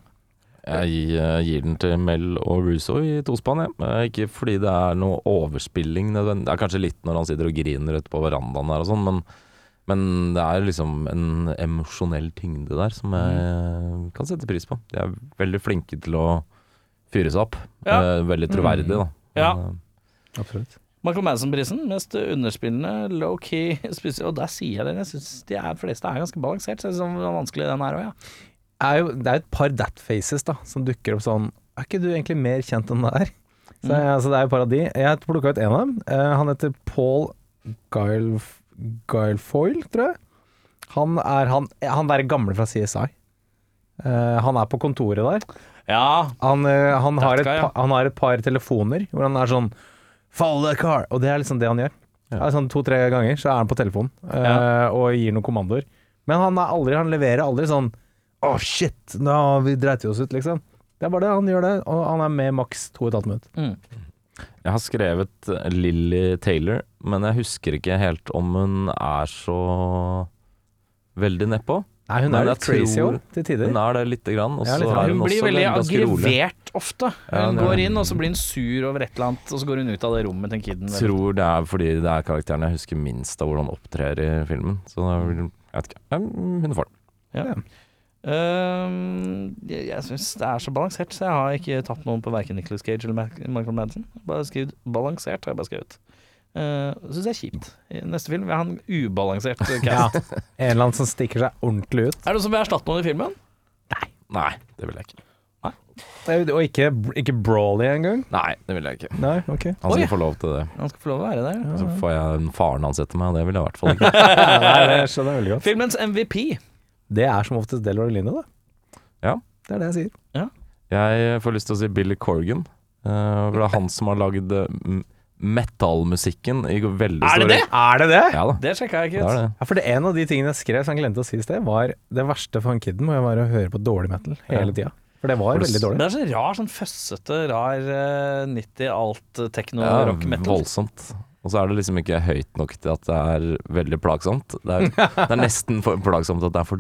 Speaker 2: Jeg gi- eh, gir den til Mel og Russo i tospann, jeg. Eh, Ikke fordi det er noe overspilling nødvendig. Det er kanskje litt når han sitter og griner ute på verandaen der og sånn, men, men det er liksom en emosjonell tyngde der som jeg eh, kan sette pris på. De er veldig flinke til å fyre seg opp.
Speaker 5: Ja.
Speaker 2: Eh, Veldig troverdig, da.
Speaker 5: Ja.
Speaker 2: Men, eh,
Speaker 4: Absolutt.
Speaker 5: Michael Madison-prisen, mest underspillende, low-key *laughs* spisser. Og der sier jeg det, jeg syns de er, fleste er ganske balansert. Så jeg synes det var vanskelig den her òg, ja.
Speaker 4: er jo, det er jo et par that faces da, som dukker opp sånn Er ikke du egentlig mer kjent enn det er? Så, så det er jo et par av de. Jeg plukka ut en av dem. Eh, han heter Paul Guilf Guilfoyle, tror jeg. Han er han, han der gamle fra CSI. Eh, han er på kontoret der.
Speaker 5: Ja,
Speaker 4: Han, eh, han, har et
Speaker 5: guy, ja.
Speaker 4: pa, han har et par telefoner hvor han er sånn Follow the car! Og det er liksom det han gjør. Det er sånn To-tre ganger så er han på telefonen eh, og gir noen kommandoer. Men han, er aldri, han leverer aldri sånn Å, shit! Nå, vi dreit jo oss ut, liksom. Det er bare det. Han gjør det, og han er med maks to og et halvt minutt.
Speaker 5: Mm.
Speaker 2: Jeg har skrevet eh, Lily Taylor, men jeg husker ikke helt om hun er så veldig nedpå.
Speaker 4: Nei, hun
Speaker 2: Men
Speaker 4: er
Speaker 2: jeg
Speaker 4: litt crazy
Speaker 2: tror-
Speaker 4: òg, til tider.
Speaker 2: Hun er det lite grann, og
Speaker 4: Ja,
Speaker 2: så
Speaker 4: litt grann.
Speaker 2: er hun
Speaker 5: Hun blir
Speaker 2: også
Speaker 5: veldig
Speaker 2: ganske rolig.
Speaker 5: aggravert ofte.
Speaker 2: Ja,
Speaker 5: Hun
Speaker 2: det er
Speaker 5: går
Speaker 2: hun.
Speaker 5: inn, og så blir hun sur over et eller annet, og så går hun ut av det rommet til kiden.
Speaker 2: tror det er fordi det er karakteren jeg husker minst av hvordan han opptrer i filmen. Så da vil- jeg vet ikke. Mm, Hun får den.
Speaker 5: Ja. Ehm, jeg jeg syns det er så balansert, så jeg har ikke tatt noen på verken Nicholas Cage eller Mac- Michael Madsen. Bare skrevet 'balansert', har jeg bare skrevet. Uh, syns jeg er kjipt. I neste film vil jeg ha en
Speaker 2: *laughs*
Speaker 5: ubalansert cast.
Speaker 4: En eller annen som stikker seg ordentlig ut.
Speaker 5: Er det noen som vil erstatte noen i filmen?
Speaker 2: Nei, det vil jeg ikke.
Speaker 4: Og ikke, ikke Brawley engang.
Speaker 2: Nei, det vil jeg ikke.
Speaker 4: Nei, ok.
Speaker 2: *laughs* Han skal få lov til det.
Speaker 5: Han skal få lov å være der.
Speaker 2: Så får jeg faren hans etter meg, og det vil jeg i hvert
Speaker 5: *laughs*
Speaker 2: fall ikke.
Speaker 4: Nei, det skjønner jeg veldig godt.
Speaker 5: Filmens MVP.
Speaker 4: Det er som oftest Del Orlino, da.
Speaker 2: Ja.
Speaker 4: Det er det jeg sier.
Speaker 2: Jeg får lyst til å si Billy Corgan. eh, For det er han som har lagd eh, m- metalmusikken i veldig
Speaker 5: Er det det?
Speaker 4: Er det det?
Speaker 2: Ja da.
Speaker 5: Det sjekka jeg
Speaker 2: Det
Speaker 5: ikke
Speaker 2: er
Speaker 5: ut.
Speaker 2: det.
Speaker 4: Ja, for det En av de tingene jeg skrev som jeg glemte å si i sted, var det verste for han kiden må jo være å høre på dårlig metal hele tida. For det var
Speaker 2: det
Speaker 4: veldig
Speaker 2: s-
Speaker 4: dårlig.
Speaker 5: Det er så rar, sånn føssete, rar eh, 90 alt tekno
Speaker 2: Ja,
Speaker 5: rock metal.
Speaker 2: voldsomt. Og så er det liksom ikke høyt nok til at det er veldig plagsomt.
Speaker 5: *laughs*
Speaker 2: Det er, det er nesten for plagsomt at det er for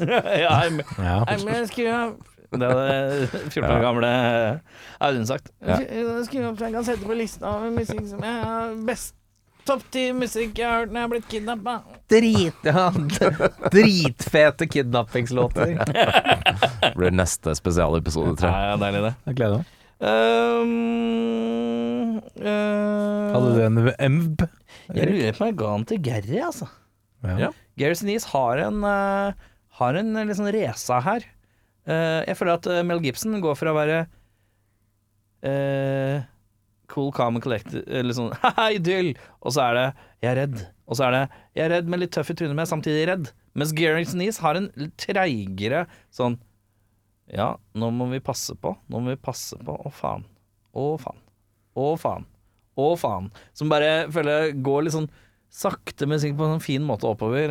Speaker 5: *laughs* ja, I'm-
Speaker 4: Ja.
Speaker 5: Nei, men jeg skulle jo- Det hadde 14 år gamle Audun sagt.
Speaker 2: Ja.
Speaker 5: Jeg skulle jo- jeg kan sette på lista over musikk som jeg har best Topp ti musikk jeg har hørt når jeg har blitt kidnappa.
Speaker 4: Drit, ja, d- dritfete kidnappingslåter.
Speaker 2: Det blir neste spesialepisode, tror jeg.
Speaker 5: Ja, ja, deilig det. Ehm,
Speaker 4: Jeg gleder meg.
Speaker 5: Um, uh,
Speaker 4: Hadde du en emb?
Speaker 5: Jeg lurer på om jeg ga den til Gary, altså.
Speaker 4: Ja.
Speaker 2: Ja.
Speaker 5: Gary Sinise har en eh, Har en eh, liksom resa her. Eh, jeg føler at eh, Mel Gibson går for å være eh, cool, calm and collected, eh, litt sånn *laughs* haha, idyll, og så er det 'jeg er redd', og så er det 'jeg er redd, men litt tøff i trynet, men jeg er samtidig redd'. Mens Gary Sinise har en litt treigere sånn Ja, nå må vi passe på, nå må vi passe på, å faen, å faen, å faen, å faen. Som bare føler jeg går litt sånn sakte, men sikkert på en sånn fin måte oppover. eh,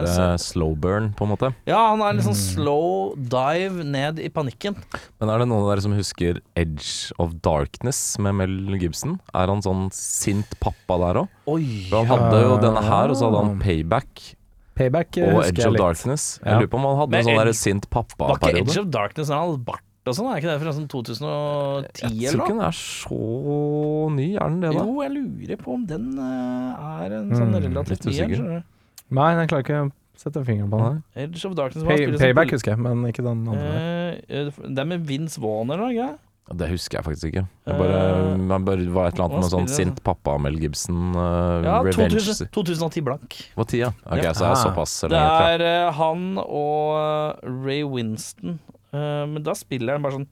Speaker 2: Mer
Speaker 5: så-
Speaker 2: eh, slow burn, på en måte.
Speaker 5: ja, han er litt sånn slow dive ned i panikken.
Speaker 2: Men er det noen av dere som husker Edge of Darkness med Mel Gibson? Er han sånn sint pappa der òg?
Speaker 5: Oi!
Speaker 2: Han hadde jo denne her, og så hadde han Payback
Speaker 4: Payback eh,
Speaker 2: og
Speaker 4: husker
Speaker 2: Edge
Speaker 4: jeg
Speaker 2: of
Speaker 4: litt.
Speaker 2: Darkness.
Speaker 4: Ja.
Speaker 2: Jeg lurer på om han hadde
Speaker 5: Men
Speaker 2: en sånn der
Speaker 5: Edge-
Speaker 2: sint
Speaker 5: Var ikke
Speaker 2: pappa-periode.
Speaker 5: Edge of Darkness han hadde bart og sånn? Er ikke det fra sånn 2010
Speaker 2: Jeg
Speaker 5: eller
Speaker 2: tror ikke
Speaker 5: noe?
Speaker 2: den er så ny, er den det, da? Hmm,
Speaker 5: Jo, jeg lurer på om den eh, er en sånn relativt
Speaker 2: litt
Speaker 5: ny en.
Speaker 2: usikker.
Speaker 5: skjønner du.
Speaker 4: Nei, jeg klarer ikke å sette fingeren på den.
Speaker 5: Edge of Darkness var
Speaker 4: Pay,
Speaker 5: spiller som
Speaker 4: payback
Speaker 5: pol-
Speaker 4: husker jeg, men ikke den andre. der.
Speaker 5: Eh, eh, Det er med Vince Vaughn eller noe? ikke?
Speaker 2: Ja, Det husker jeg faktisk ikke. Jeg bare, jeg bare var et eller
Speaker 5: hva
Speaker 2: annet med sånn
Speaker 5: spiller
Speaker 2: sint pappa Mel Gibson, eh,
Speaker 5: Ja,
Speaker 2: Revenge
Speaker 5: 2000, 2010 blank.
Speaker 2: Hva tid, ja? Ok,
Speaker 5: Ja.
Speaker 2: så er jeg
Speaker 4: Ah.
Speaker 2: såpass
Speaker 5: Det
Speaker 2: lenge fra.
Speaker 5: er eh, han og eh, Ray Winston. Eh, men da spiller han bare sånn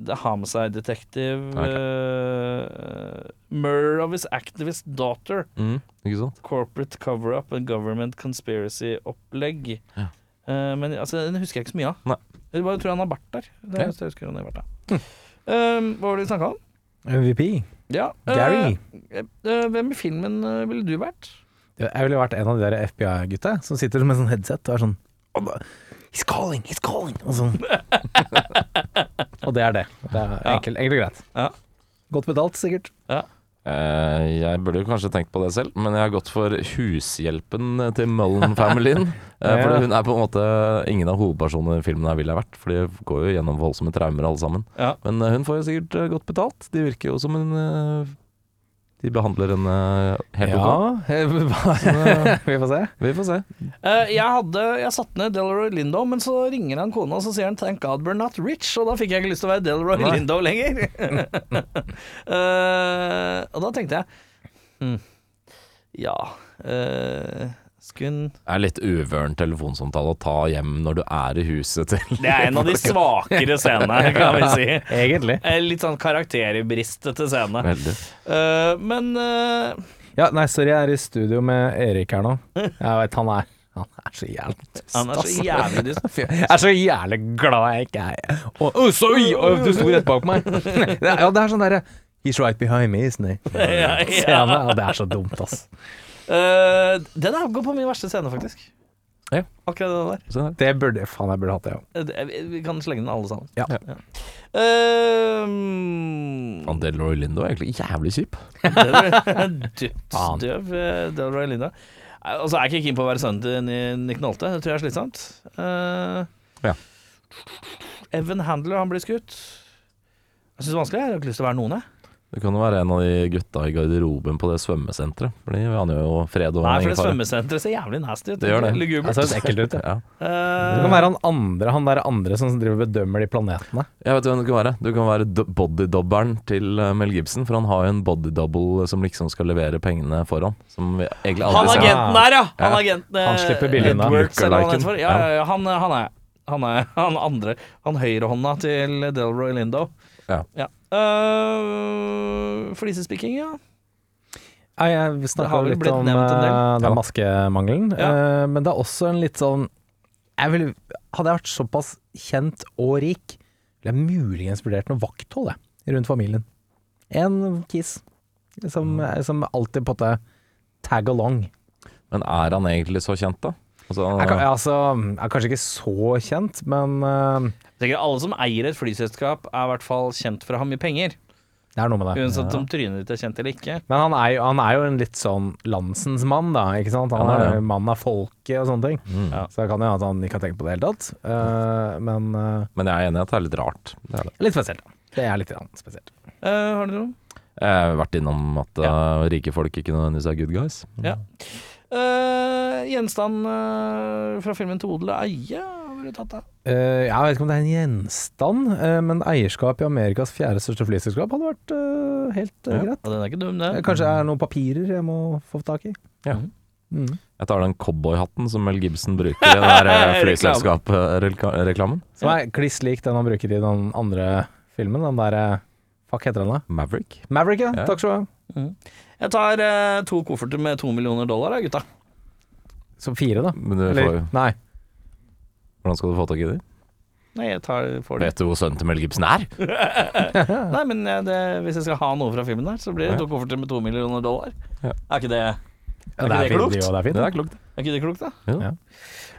Speaker 5: The Homicide Detective
Speaker 2: Ok.
Speaker 5: eh, Murder of his activist daughter.
Speaker 2: Mm, ikke sant?
Speaker 5: Corporate cover-up and government conspiracy-opplegg.
Speaker 2: Ja.
Speaker 5: Eh, men altså, den husker jeg ikke så mye av.
Speaker 2: Nei.
Speaker 5: Jeg bare tror han har bart der. Det
Speaker 2: Ja. Hm.
Speaker 5: er det jeg husker han har bart der. Eh, hva var det vi snakka om?
Speaker 4: MVP.
Speaker 5: Ja, eh,
Speaker 4: Gary.
Speaker 5: eh, eh, hvem i filmen eh, ville du vært?
Speaker 4: Jeg ville vært en av de der FBI-gutta som sitter med sånn headset og er sånn og bare, He's calling, he's calling!
Speaker 5: *laughs*
Speaker 4: Og sånn. og det er det. Det er enkelt, enkelt og greit.
Speaker 5: Ja.
Speaker 4: Godt betalt, sikkert.
Speaker 2: Eh, jeg burde jo kanskje tenkt på det selv, men jeg har gått for hushjelpen
Speaker 5: *laughs*
Speaker 2: til Mullen-familien. Eh,
Speaker 4: Ja.
Speaker 2: for hun er på en måte Ingen av hovedpersonene i filmen her ville jeg vært, for de går jo gjennom voldsomme traumer alle sammen.
Speaker 5: Ja.
Speaker 2: Men eh, hun får jo sikkert eh, godt betalt. De virker jo som en eh, De behandler henne helt ok. eh,
Speaker 5: *laughs*
Speaker 4: Ja. *laughs* Vi får se.
Speaker 2: Vi får se.
Speaker 5: Eh, jeg hadde, jeg satte ned Delroy Lindo, men så ringer han kona og så sier han 'thank God we're not rich', og da fikk jeg
Speaker 2: *laughs*
Speaker 5: ikke lyst til å være Delroy Lindo lenger. Eh, og da tenkte jeg Ja eh, Skun
Speaker 2: Det er litt uvøren telefonsamtale å ta hjem når du er i huset til
Speaker 5: Det er en
Speaker 2: *laughs*
Speaker 5: av de svakere
Speaker 4: *laughs*
Speaker 5: scenene, kan vi si.
Speaker 4: Egentlig.
Speaker 5: Eh, Litt sånn karakterbristete scene.
Speaker 2: Veldig.
Speaker 5: Eh, men eh,
Speaker 4: Ja, nei, sorry, jeg er i studio med Erik her nå. Jeg vet, han er han er så jævlig dust,
Speaker 5: han er så
Speaker 4: altså.
Speaker 5: jævlig dyst.
Speaker 4: Jeg er så jævlig glad jeg ikke er Å, å, sorry! Å, du sto rett bak meg. *laughs* Det er- Ja, det er sånn derre He's right behind me, isn't he?
Speaker 5: *laughs* *laughs* Ja, ja.
Speaker 4: Scene, og det er så dumt, ass.
Speaker 5: Eh, den er- går på min verste scene, faktisk.
Speaker 2: Ja.
Speaker 5: Akkurat den
Speaker 2: Se der.
Speaker 4: Det burde Faen, jeg burde hatt det, ja.
Speaker 5: der. Eh, det- Vi vi kan slenge den alle sammen.
Speaker 4: Ja.
Speaker 5: Eh,
Speaker 2: Faen, Delroy Lindo er egentlig jævlig kjip.
Speaker 5: *laughs*
Speaker 4: Faen.
Speaker 5: Dødsdøv eh, Delroy Linda. Eh, Altså, jeg er ikke keen på å være sønnen til Ni- Nick Nolte. Det tror jeg er slitsomt. Eh,
Speaker 2: Ja.
Speaker 5: Evan Handler, han blir skutt. Jeg syns det er vanskelig. Jeg har ikke lyst til å være noen, jeg.
Speaker 2: Det kan jo være en av de gutta i garderoben på det svømmesenteret. For de aner jo fred og
Speaker 5: Nei, for det
Speaker 2: fare.
Speaker 5: svømmesenteret ser jævlig nasty ut. Eh,
Speaker 2: Det gjør det.
Speaker 5: Lugubert.
Speaker 4: Det ser litt ekkelt ut, ja.
Speaker 2: Ja.
Speaker 4: Det kan være han andre, han der andre som driver og bedømmer de planetene.
Speaker 2: Jeg vet hvem du kan være. Du kan være do- bodydobberen til eh, Mel Gibson. For han har jo en bodydouble som liksom skal levere pengene for ham. Som vi egentlig
Speaker 5: Han
Speaker 2: aldri ser.
Speaker 5: agenten her, ja! Han,
Speaker 2: Ja.
Speaker 5: agenten, eh,
Speaker 4: Han slipper billig unna.
Speaker 5: Edwards, eller hva han, heter for. ja,
Speaker 2: Ja.
Speaker 5: ja, ja, han, han er han er *laughs* han andre Han høyrehånda til Delroy Lindo.
Speaker 2: Ja.
Speaker 5: Ja. Eh, flisespikking, ja.
Speaker 4: Nei, Jeg
Speaker 5: Det har
Speaker 4: snakka
Speaker 5: vel
Speaker 4: litt
Speaker 5: blitt
Speaker 4: om
Speaker 5: nevnt en del.
Speaker 4: eh, den
Speaker 2: Ja.
Speaker 4: maskemangelen,
Speaker 5: Ja.
Speaker 4: eh, men det er også en litt sånn jeg ville, Hadde jeg vært såpass kjent og rik, ville jeg muligens vurdert noe vakthold jeg, rundt familien. En kis som, eh, som alltid på en måte tag along.
Speaker 2: Men er han egentlig så kjent, da? Altså,
Speaker 4: Jeg, kan- jeg, altså, jeg er kanskje ikke så kjent, men eh,
Speaker 5: Tenker Alle som eier et flyselskap, er i hvert fall kjent for å ha mye penger.
Speaker 4: det er noe med det.
Speaker 5: Uansett om trynet ditt er kjent eller ikke.
Speaker 4: Men han er, jo, han er jo en litt sånn landsens mann, da. ikke sant? Han
Speaker 2: Han er
Speaker 4: er
Speaker 2: det.
Speaker 4: mann av folket og sånne ting.
Speaker 5: Ja.
Speaker 4: Så det kan jo hende at han ikke har tenkt på det i det hele tatt. Eh, men eh,
Speaker 2: Men jeg er enig i at det er litt rart. Det er det.
Speaker 4: litt spesielt, da. Det er litt grann spesielt.
Speaker 5: Eh, har du noe?
Speaker 2: Jeg har vært innom at eh, rike folk ikke nødvendigvis er good guys.
Speaker 5: Ja. Eh, gjenstand eh, fra filmen 'Til odel og eie' har vært tatt av.
Speaker 4: Eh, jeg vet ikke om det er en gjenstand, eh, men eierskap i Amerikas fjerde største flyselskap hadde vært eh, helt eh, greit.
Speaker 5: Ja, den er ikke dum,
Speaker 4: Eh,
Speaker 5: det.
Speaker 4: Kanskje det er noen papirer jeg må få tak i.
Speaker 2: Ja.
Speaker 4: Mm.
Speaker 2: Jeg tar den cowboyhatten som Mel Gibson bruker i den der
Speaker 5: *laughs*
Speaker 2: eh,
Speaker 5: Reklame.
Speaker 2: flyselskap-reklamen.
Speaker 4: Som er kliss lik den han bruker i den andre filmen. Den derre Fuck, heter den da?
Speaker 2: Maverick.
Speaker 4: Maverick, ja.
Speaker 2: Ja.
Speaker 4: Takk skal du ha.
Speaker 5: Jeg tar eh, to kofferter med to millioner dollar, da, gutta.
Speaker 4: Som fire, da.
Speaker 2: Men du får,
Speaker 4: Eller, nei.
Speaker 2: hvordan skal du få tak i de?
Speaker 5: Nei, jeg tar får det.
Speaker 2: Vet du hvor sønnen til Mel Gibson er?
Speaker 5: Nei, men eh, det, hvis jeg skal ha noe fra filmen der, så blir det to kofferter med to millioner dollar.
Speaker 2: Ja.
Speaker 5: Er ikke det
Speaker 4: Ja,
Speaker 5: ikke
Speaker 4: det
Speaker 5: det
Speaker 4: er fint,
Speaker 5: klokt?
Speaker 4: jo, det er fint.
Speaker 2: Det er klokt.
Speaker 5: er ikke det klokt, da?
Speaker 2: Jo.
Speaker 4: Ja.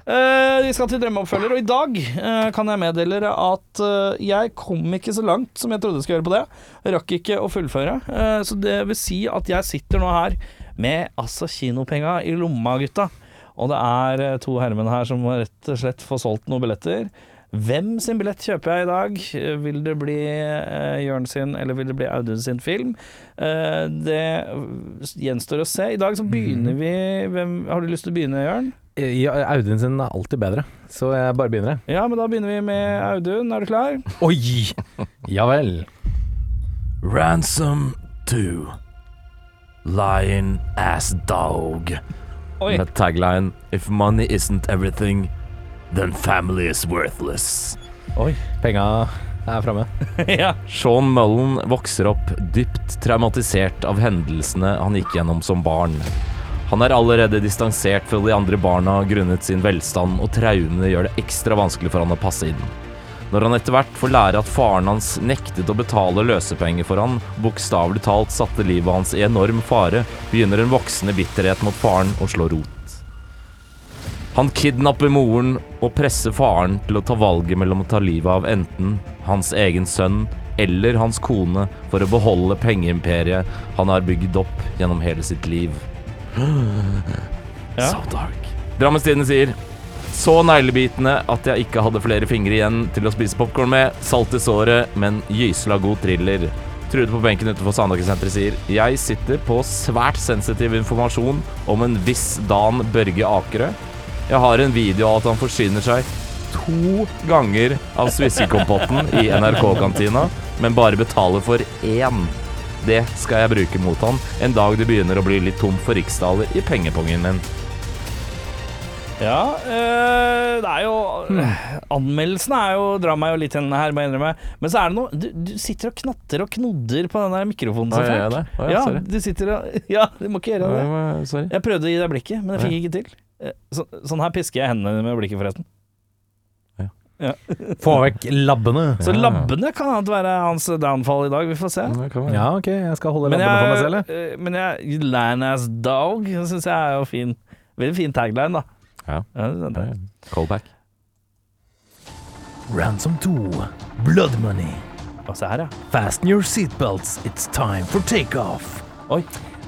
Speaker 5: Eh, vi skal til drømmeoppfølger, og i dag eh, kan jeg meddele dere at eh, jeg kom ikke så langt som jeg trodde jeg skulle gjøre på det. Jeg rakk ikke å fullføre. Eh, så det vil si at jeg sitter nå her med altså kinopenga i lomma, gutta. Og det er eh, to herremenn her som må rett og slett få solgt noen billetter. Hvem sin billett kjøper jeg i dag? Eh, Vil det bli eh, Jørn sin, eller vil det bli Audun sin film? Eh, det gjenstår å se. I dag så begynner vi hvem, Har du lyst til å begynne, Jørn?
Speaker 4: Ja, Audun sin er alltid bedre, så jeg bare begynner, jeg.
Speaker 5: Ja, men da begynner vi med Audun. Er du klar?
Speaker 4: Oi! Ja vel.
Speaker 2: Ransom 2. Lion ass dog.
Speaker 5: Oi.
Speaker 2: Med tagline If money isn't everything, then family is worthless.
Speaker 4: Oi. Penga er framme.
Speaker 5: *laughs* ja.
Speaker 2: Sean Mullen vokser opp dypt traumatisert av hendelsene han gikk gjennom som barn. Han er allerede distansert fra de andre barna grunnet sin velstand, og traumene gjør det ekstra vanskelig for han å passe inn. Når han etter hvert får lære at faren hans nektet å betale løsepenger for han, bokstavelig talt satte livet hans i enorm fare, begynner en voksende bitterhet mot faren å slå rot. Han kidnapper moren og presser faren til å ta valget mellom å ta livet av enten hans egen sønn eller hans kone for å beholde pengeimperiet han har bygd opp gjennom hele sitt liv.
Speaker 5: Ja.
Speaker 2: So dark. Drammens Tidende sier så neglebitende at jeg ikke hadde flere fingre igjen til å spise popkorn med. Salt i såret, men gysla god thriller. Trude på benken utenfor Sandaker-senteret sier Jeg sitter på svært sensitiv informasjon om en viss Dan Børge Akerø. Jeg har en video av at han forsyner seg to ganger av sviskekompotten i NRK-kantina, men bare betaler for én. Det skal jeg bruke mot han en dag det begynner å bli litt tom for riksdaler i pengepongen min.
Speaker 5: Ja, eh, det er jo Anmeldelsene er jo, drar meg jo litt i hendene her, må jeg innrømme. Men så er det noe du, du sitter og knatter og knodder på den der mikrofonen.
Speaker 2: Å,
Speaker 5: som
Speaker 2: gjør jeg
Speaker 5: folk.
Speaker 2: det? Å, ja, sorry.
Speaker 5: du sitter og *laughs* Ja, du må ikke gjøre det.
Speaker 2: Nei, men, Sorry.
Speaker 5: Jeg prøvde å gi deg blikket, men det fikk jeg ikke til. Eh, Så, sånn her pisker jeg hendene med blikket, forresten.
Speaker 4: Få vekk labbene.
Speaker 5: Så
Speaker 2: Ja.
Speaker 5: labbene kan være hans downfall i dag, vi får se.
Speaker 2: Ja, det kan være.
Speaker 4: Ja, ok, jeg skal holde
Speaker 5: Men
Speaker 4: labbene for meg selv.
Speaker 5: jeg,
Speaker 4: jeg.
Speaker 5: eh, men jeg Lanass Dog syns jeg er jo fin. Veldig fin tagline, da.
Speaker 2: Ja.
Speaker 5: det er det.
Speaker 2: Ja, ja. Callback.
Speaker 6: Ransom 2. Blood money.
Speaker 5: Og se her, ja.
Speaker 6: Fasten your seatbelts. It's time for takeoff.
Speaker 5: Oi.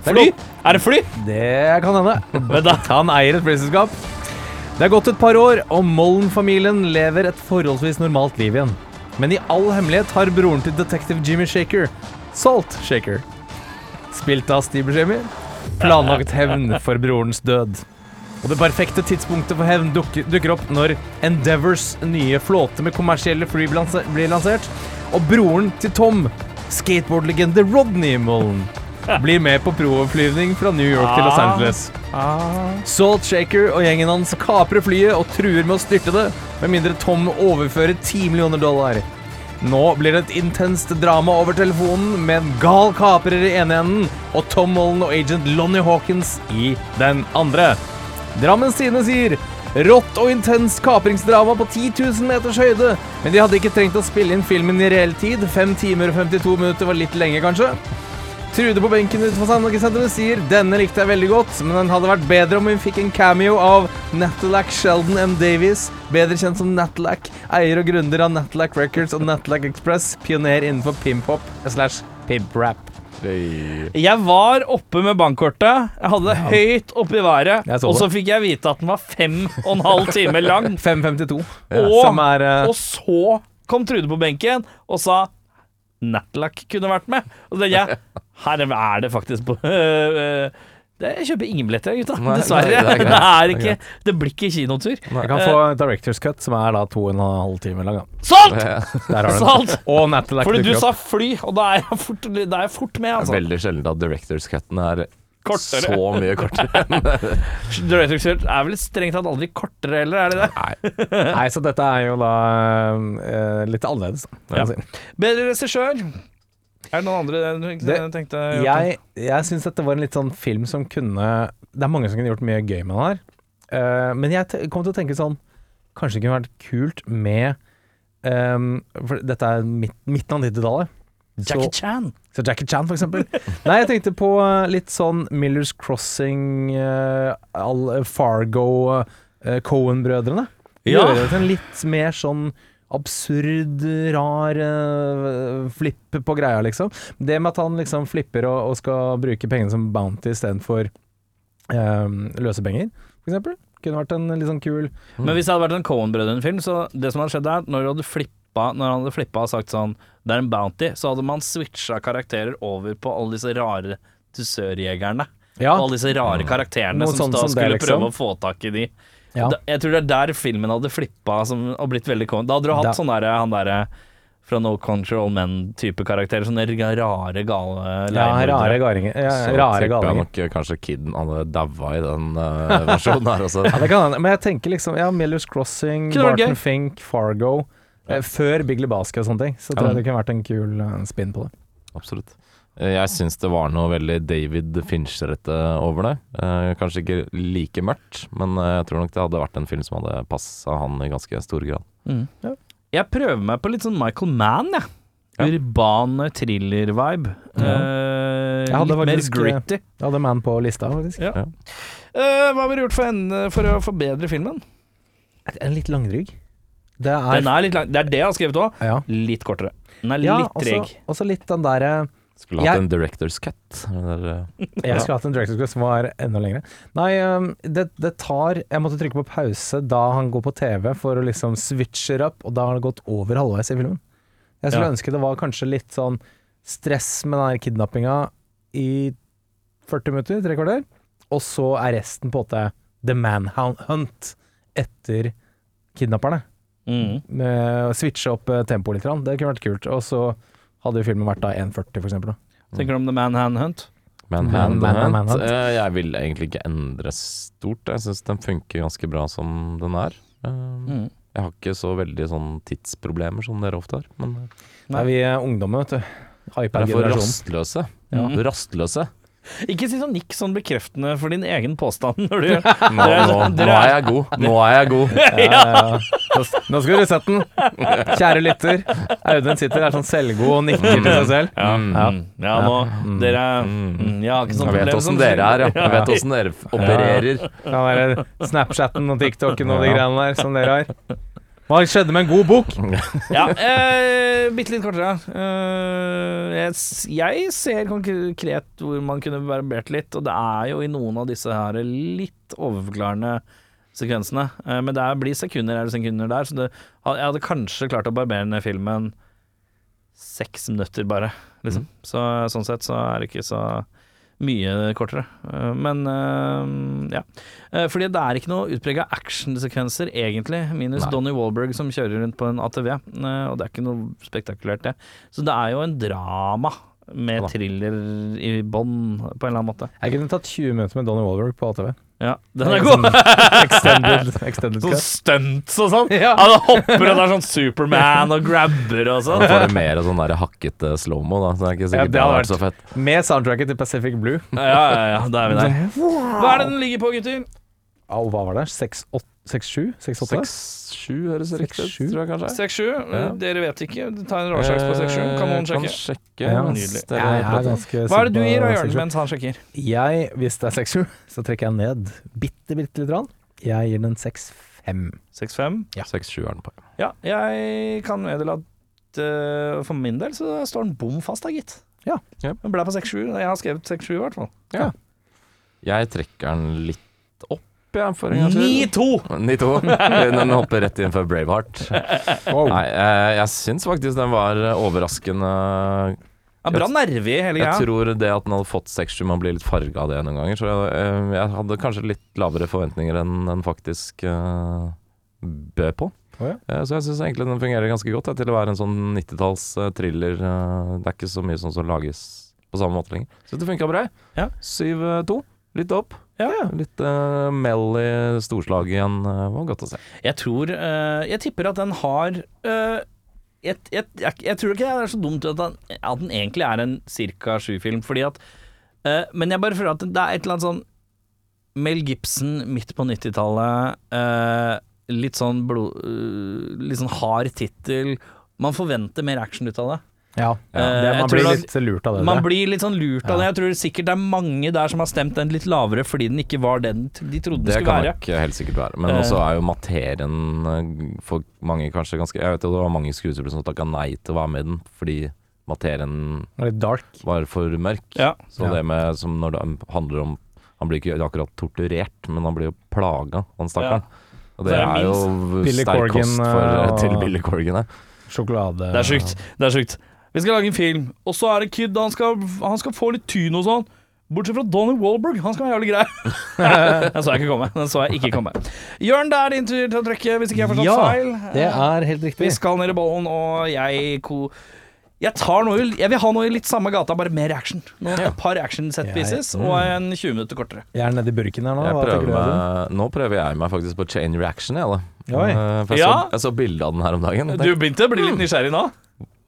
Speaker 5: Fly! Er det fly?
Speaker 4: Det kan hende. *laughs*
Speaker 5: Men da
Speaker 4: Han eier et flyselskap. Det er gått et par år, og Mollen-familien lever et forholdsvis normalt liv igjen. Men i all hemmelighet har broren til detektiv Jimmy Shaker, Salt Shaker, spilt av Steve Buscemi, planlagt hevn for brorens død. Og det perfekte tidspunktet for hevn dukker, dukker opp når Endeavors nye flåte med kommersielle fly blir lanse- blir lansert, og broren til Tom, skateboardlegende Rodney Mullen, blir med på provflyvning fra New York til Los Angeles. Salt Shaker og gjengen hans kaprer flyet og truer med å styrte det, med mindre Tom overfører 10 millioner dollar. Nå blir det et intenst drama over telefonen med en gal kaprer i ene enden og Tom Mullen og agent Lonnie Hawkins i den andre. Drammens Tidende sier Rått og intenst kapringsdrama på 10 000 meters høyde. Men de hadde ikke trengt å spille inn filmen i reell tid. 5 timer og 52 minutter var litt lenge, kanskje. Trude på benken utenfor Sandhagesenteret sier denne likte jeg veldig godt, men den hadde vært bedre om vi fikk en cameo av Natalac Sheldon M. Davies, bedre kjent som Natalac, eier og gründer av Natalac Records og Natalac Express, pioner innenfor pimp-hop slash pimp-rap.
Speaker 5: Jeg var oppe med bankkortet. Jeg hadde det høyt oppe i været.
Speaker 4: Jeg så
Speaker 5: Og så
Speaker 4: det.
Speaker 5: fikk jeg vite at den var fem og en halv time lang.
Speaker 4: *laughs* 552,
Speaker 5: Og-
Speaker 4: som er eh,
Speaker 5: Og så kom Trude på benken og sa Natlac kunne vært med. Og så tenkte jeg her er det faktisk på *laughs* øh, øh, det, Jeg kjøper ingen billetter, jeg, gutta.
Speaker 2: Nei,
Speaker 5: *laughs* Dessverre.
Speaker 2: nei,
Speaker 5: Det,
Speaker 2: det er greit,
Speaker 5: er
Speaker 2: det er
Speaker 5: ikke, det blir ikke kinotur.
Speaker 4: Jeg kan
Speaker 5: Eh.
Speaker 4: få Directors Cut, som er da 2,5 timer lang. da.
Speaker 5: Salt! *laughs*
Speaker 4: Der har du den.
Speaker 5: Salt!
Speaker 4: Og Natalac
Speaker 5: Fordi du
Speaker 4: dukker opp.
Speaker 5: sa fly, og da er jeg fort, da er jeg fort med, altså.
Speaker 2: Veldig sjelden at directors cutten er
Speaker 5: Kortere.
Speaker 2: så mye *laughs* kortere.
Speaker 5: Director's Cut er vel strengt tatt aldri kortere heller, er det det?
Speaker 4: Nei, så dette er jo da eh, litt annerledes.
Speaker 5: Ja.
Speaker 4: Ja. Si.
Speaker 5: Bedre regissør. Er det noen andre du tenkte- tenkte å gjøre?
Speaker 4: Jeg, jeg syns dette var en litt sånn film som kunne Det er mange som kunne gjort mye gøy med den her. Eh, men jeg te- kom til å tenke sånn Kanskje det kunne vært kult med ehm, For dette er midt, midten av 90-tallet.
Speaker 5: Jackie Chan.
Speaker 4: Så Jackie Chan, for eksempel. Nei, jeg tenkte på eh, litt sånn Millers Crossing, eh, all, eh, Fargo, uh, Cohen-brødrene.
Speaker 5: Ja.
Speaker 4: Gjøre det til en litt mer sånn absurd, rar eh, flipp på greia, liksom. Det med at han liksom flipper og, og skal bruke pengene som bounty istedenfor um, løsepenger, for eksempel. Kunne vært en litt sånn kul
Speaker 5: Men hvis det hadde vært en Cohen-brødrene-film, så det som hadde skjedd der, når, du hadde flippa, når han hadde flippa og sagt sånn Det er en bounty, så hadde man switcha karakterer over på alle disse rare dusørjegerne.
Speaker 4: Ja.
Speaker 5: Og alle disse rare karakterene
Speaker 4: Ah. Mm. Noe
Speaker 5: som
Speaker 4: sånt
Speaker 5: da
Speaker 4: som det,
Speaker 5: skulle
Speaker 4: liksom.
Speaker 5: prøve å få tak i de.
Speaker 4: Ja.
Speaker 5: Da, jeg tror det er der filmen hadde flippa som, og blitt veldig Cohen. Da hadde du hatt
Speaker 4: Da-
Speaker 5: sånn derre han derre fra No Control Men-type karakterer. Sånne rare, gale
Speaker 4: ja, rare
Speaker 5: leiemordere.
Speaker 4: garinger. Ja,
Speaker 2: Så
Speaker 4: rare
Speaker 2: tipper jeg
Speaker 4: galinger.
Speaker 2: nok eh, kanskje Kidden hadde daua i den eh, versjonen her også.
Speaker 4: Ja, det kan hende. Men jeg tenker liksom Ja, Millers Crossing,
Speaker 5: Kunne vært
Speaker 4: Barton
Speaker 5: gøy.
Speaker 4: Fink, Fargo. eh, Før Big Lebowski og sånne ting. Så tror jeg det kunne vært en kul eh, spinn på det.
Speaker 2: Absolutt. Eh, Jeg syns det var noe veldig David Fincher-ete over det. Eh, Kanskje ikke like mørkt, men eh, jeg tror nok det hadde vært en film som hadde passa han i ganske stor grad.
Speaker 5: Jeg prøver meg på litt sånn Michael Mann, jeg.
Speaker 2: Ja.
Speaker 5: Urban thriller-vibe. Eh,
Speaker 4: Jeg hadde
Speaker 5: litt mer
Speaker 4: faktisk-
Speaker 5: gritty.
Speaker 4: Jeg hadde Man på lista, faktisk.
Speaker 5: Eh, hva ville du gjort for, en, for å forbedre filmen?
Speaker 4: En litt langdrygg. Det er,
Speaker 5: Den er litt lang. Det er det jeg har skrevet òg.
Speaker 4: Ja,
Speaker 5: Litt kortere. Den er
Speaker 4: ja altså-
Speaker 5: litt treg.
Speaker 4: også, også litt den eh, derre
Speaker 2: Skulle
Speaker 4: Jeg-
Speaker 2: hatt en director's cut. Det der, eh,
Speaker 4: Jeg skulle hatt en director's cut som var enda lengre. Nei, um, det, det tar Jeg måtte trykke på pause da han går på TV, for å liksom switche up, og da har det gått over halvveis i filmen. Jeg skulle
Speaker 5: Ja.
Speaker 4: ønske det var kanskje litt sånn stress med den her kidnappinga i 40 minutter, tre kvarter, og så er resten på en måte the manhunt etter kidnapperne.
Speaker 5: Mm.
Speaker 4: Med å switche opp eh, tempoet litt. grann. Det kunne vært kult. Og så hadde jo filmen vært da 1,40 for eksempel. Da.
Speaker 5: Tenker du om The Man Handhunt?
Speaker 2: Men
Speaker 4: Man-
Speaker 2: Hand
Speaker 4: Man-
Speaker 2: Hunt,
Speaker 4: Man Hunt.
Speaker 2: eh, Jeg vil egentlig ikke endre stort. Jeg syns den funker ganske bra som den er. Eh,
Speaker 5: Mm.
Speaker 2: Jeg har ikke så veldig sånn tidsproblemer som dere ofte har. Men eh,
Speaker 4: Nei, vi er ungdommer, vet du.
Speaker 2: jeg er for
Speaker 4: Hyper-generasjonen.
Speaker 2: rastløse.
Speaker 5: Ja.
Speaker 4: *laughs*
Speaker 2: Rastløse.
Speaker 5: Ikke si sånn nikk sånn bekreftende for din egen påstand *laughs* når du gjør
Speaker 2: Nå, nå, nå er jeg god. Nå er jeg god.
Speaker 4: *laughs* Ja, ja. Nå s- Nå skal du sett den! Kjære lytter. Audun sitter her sånn selvgod og nikker til seg selv.
Speaker 5: Ja,
Speaker 2: Mm.
Speaker 5: mm, ja nå Dere er mm, Jeg har ikke sånn
Speaker 2: Jeg vet
Speaker 5: problem
Speaker 2: åssen dere er, ja. Jeg vet åssen dere f- opererer.
Speaker 4: Ja, der er Snapchatten og TikToken og de greiene der som dere har. Hva skjedde med en god bok?
Speaker 5: Ja, eh, bitte litt kortere. Eh, jeg, s- jeg ser konkret hvor man kunne barbert litt, og det er jo i noen av disse her litt overforklarende sekvensene. Eh, men det er- blir sekunder her og sekunder der, så det, jeg hadde kanskje klart å barbere ned filmen seks minutter bare, liksom. Så sånn sett så er det ikke så mye kortere. Eh, Men eh, ja. Eh, Fordi det er ikke noe utprega actionsekvenser, egentlig, minus
Speaker 2: Nei.
Speaker 5: Donnie Wahlberg som kjører rundt på en ATV. eh, Og det er ikke noe spektakulært, det. Så det er jo en drama med
Speaker 2: Ja da.
Speaker 5: thriller i bånn, på en eller annen måte.
Speaker 4: Jeg kunne tatt 20 minutter med Donny Wahlberg på ATV.
Speaker 5: Ja, den er
Speaker 2: sånn
Speaker 5: *laughs* god!
Speaker 4: *laughs* Extended, extended
Speaker 5: Sånn
Speaker 4: cut.
Speaker 5: stunts og
Speaker 2: *laughs*
Speaker 5: sånn. Ja. Han hopper og det er sånn Superman og grabber og
Speaker 2: Da
Speaker 5: sånn.
Speaker 2: får du mer av sånn der hakkete slow-mo, da. Så det er ikke
Speaker 4: Ja,
Speaker 2: sikkert
Speaker 4: det
Speaker 2: det hadde
Speaker 4: hadde
Speaker 2: vært så fett.
Speaker 4: Med soundtracket til Pacific Blue.
Speaker 5: Ja, ja, ja, da er vi
Speaker 2: *laughs*
Speaker 5: der. Hva er det den ligger på, gutter?
Speaker 4: Au, hva var det? 6-7? 6-8?
Speaker 2: Seks-sju høres
Speaker 4: Seks,
Speaker 2: riktig ut,
Speaker 4: sju?
Speaker 2: tror jeg kanskje.
Speaker 5: 6-7?
Speaker 2: Ja.
Speaker 5: Dere vet ikke. Ta en råsjans på 6-7. Kan noen
Speaker 2: Eh,
Speaker 5: sjekke?
Speaker 2: sjekke.
Speaker 4: Ja,
Speaker 2: mens
Speaker 5: nydelig.
Speaker 2: dere
Speaker 4: Jeg er
Speaker 2: prater.
Speaker 4: ganske
Speaker 5: Hva er det du
Speaker 4: sikker
Speaker 5: gir
Speaker 4: på
Speaker 5: av
Speaker 4: 6-7.
Speaker 5: Jørn mens han sjekker?
Speaker 4: Jeg, hvis det er 6-7, så trekker jeg ned bitte, bitte litt. Rann. Jeg gir den 6-5.
Speaker 5: 6-5.
Speaker 2: 6-7 er den på.
Speaker 5: Ja, jeg kan meddele at eh, for min del så står den bom fast, da, gitt.
Speaker 4: Ja.
Speaker 2: Jep.
Speaker 5: Den ble på 6-7. Jeg har skrevet 6-7 i hvert fall.
Speaker 2: Jeg trekker den litt opp, jeg, for en gangs skyld.
Speaker 5: 9-2!
Speaker 2: 9-2.
Speaker 4: *laughs*
Speaker 2: Den hopper rett inn for Braveheart. Nei, eh, jeg syns faktisk den var overraskende
Speaker 5: Ja, bra nerve i hele
Speaker 2: Jeg
Speaker 5: greia.
Speaker 2: tror det at den hadde fått 6-7, man blir litt farga av det noen ganger. Så jeg, eh, jeg hadde kanskje litt lavere forventninger enn den faktisk eh, bød på.
Speaker 4: Å
Speaker 2: Eh, Så jeg syns egentlig den fungerer ganske godt eh, til å være en sånn 90-talls eh, thriller. eh, Det er ikke så mye sånn som lages på samme måte lenger. Så det funka bra. jeg.
Speaker 5: Ja.
Speaker 2: 7-2. Litt opp.
Speaker 5: Ja.
Speaker 2: Litt uh, mell i storslaget igjen. eh, var godt å se.
Speaker 5: Jeg tror eh, Jeg tipper at den har eh, jeg, jeg, jeg, jeg tror ikke det er så dumt at den, at den egentlig er en cirka sju-film, fordi at eh, Men jeg bare føler at det er et eller annet sånn Mel Gibson midt på 90-tallet, eh, litt sånn blod... eh, litt sånn hard tittel. Man forventer mer action ut av det.
Speaker 4: Ja.
Speaker 5: Eh,
Speaker 4: det,
Speaker 5: jeg
Speaker 4: man
Speaker 5: tror
Speaker 4: blir
Speaker 5: da-
Speaker 4: litt lurt av det.
Speaker 5: Man
Speaker 4: der.
Speaker 5: blir litt sånn lurt av det. Jeg tror sikkert det er mange der som har stemt den litt lavere fordi den ikke var den de trodde den
Speaker 2: Det
Speaker 5: skulle
Speaker 2: kan
Speaker 5: være.
Speaker 2: nok helt sikkert være. Men
Speaker 5: Eh.
Speaker 2: også er jo materien eh, for mange kanskje ganske Jeg vet jo det var mange skuespillere som takka nei til å være med i den fordi materien
Speaker 4: Det er Litt dark.
Speaker 2: var for mørk.
Speaker 5: Ja.
Speaker 2: Så det med som når det handler om Han blir ikke akkurat torturert, men han blir jo plaga, han stakkaren. Og det
Speaker 5: Så er det
Speaker 2: er jo
Speaker 4: Billy
Speaker 2: sterk
Speaker 4: Corgan,
Speaker 2: kost for, eh,
Speaker 5: eh,
Speaker 4: og-
Speaker 2: til Billy Corgan, ja.
Speaker 4: Sjokolade
Speaker 5: Det er sjukt. Det er sjukt. Vi skal lage en film, og så er det Kid. Han skal, han skal få litt tyn og sånn. Bortsett fra Donnie Wahlberg, han skal være jævlig grei. *laughs* Den så jeg ikke komme. Den så jeg ikke komme. Jørn, det er din tur til å trekke, hvis ikke jeg har forstått
Speaker 4: Ja,
Speaker 5: feil. Eh,
Speaker 4: Det er helt
Speaker 5: Vi
Speaker 4: riktig.
Speaker 5: skal ned i bollen, og jeg ko... Jeg, tar noe, jeg vil ha noe i litt samme gata, bare mer action. Nå, et par action set pieces og en 20 minutter kortere.
Speaker 4: Jeg er nedi burken her nå.
Speaker 2: Jeg
Speaker 4: Hva
Speaker 2: prøver
Speaker 4: tenker du? Audun?
Speaker 2: meg, nå prøver jeg meg faktisk på chain reaction, jeg, da.
Speaker 4: Oi.
Speaker 2: Eh, For jeg,
Speaker 5: Ja.
Speaker 2: så, jeg så bilde av den her om dagen. og
Speaker 5: Du
Speaker 2: Tenkte,
Speaker 5: begynte å bli litt nysgjerrig nå?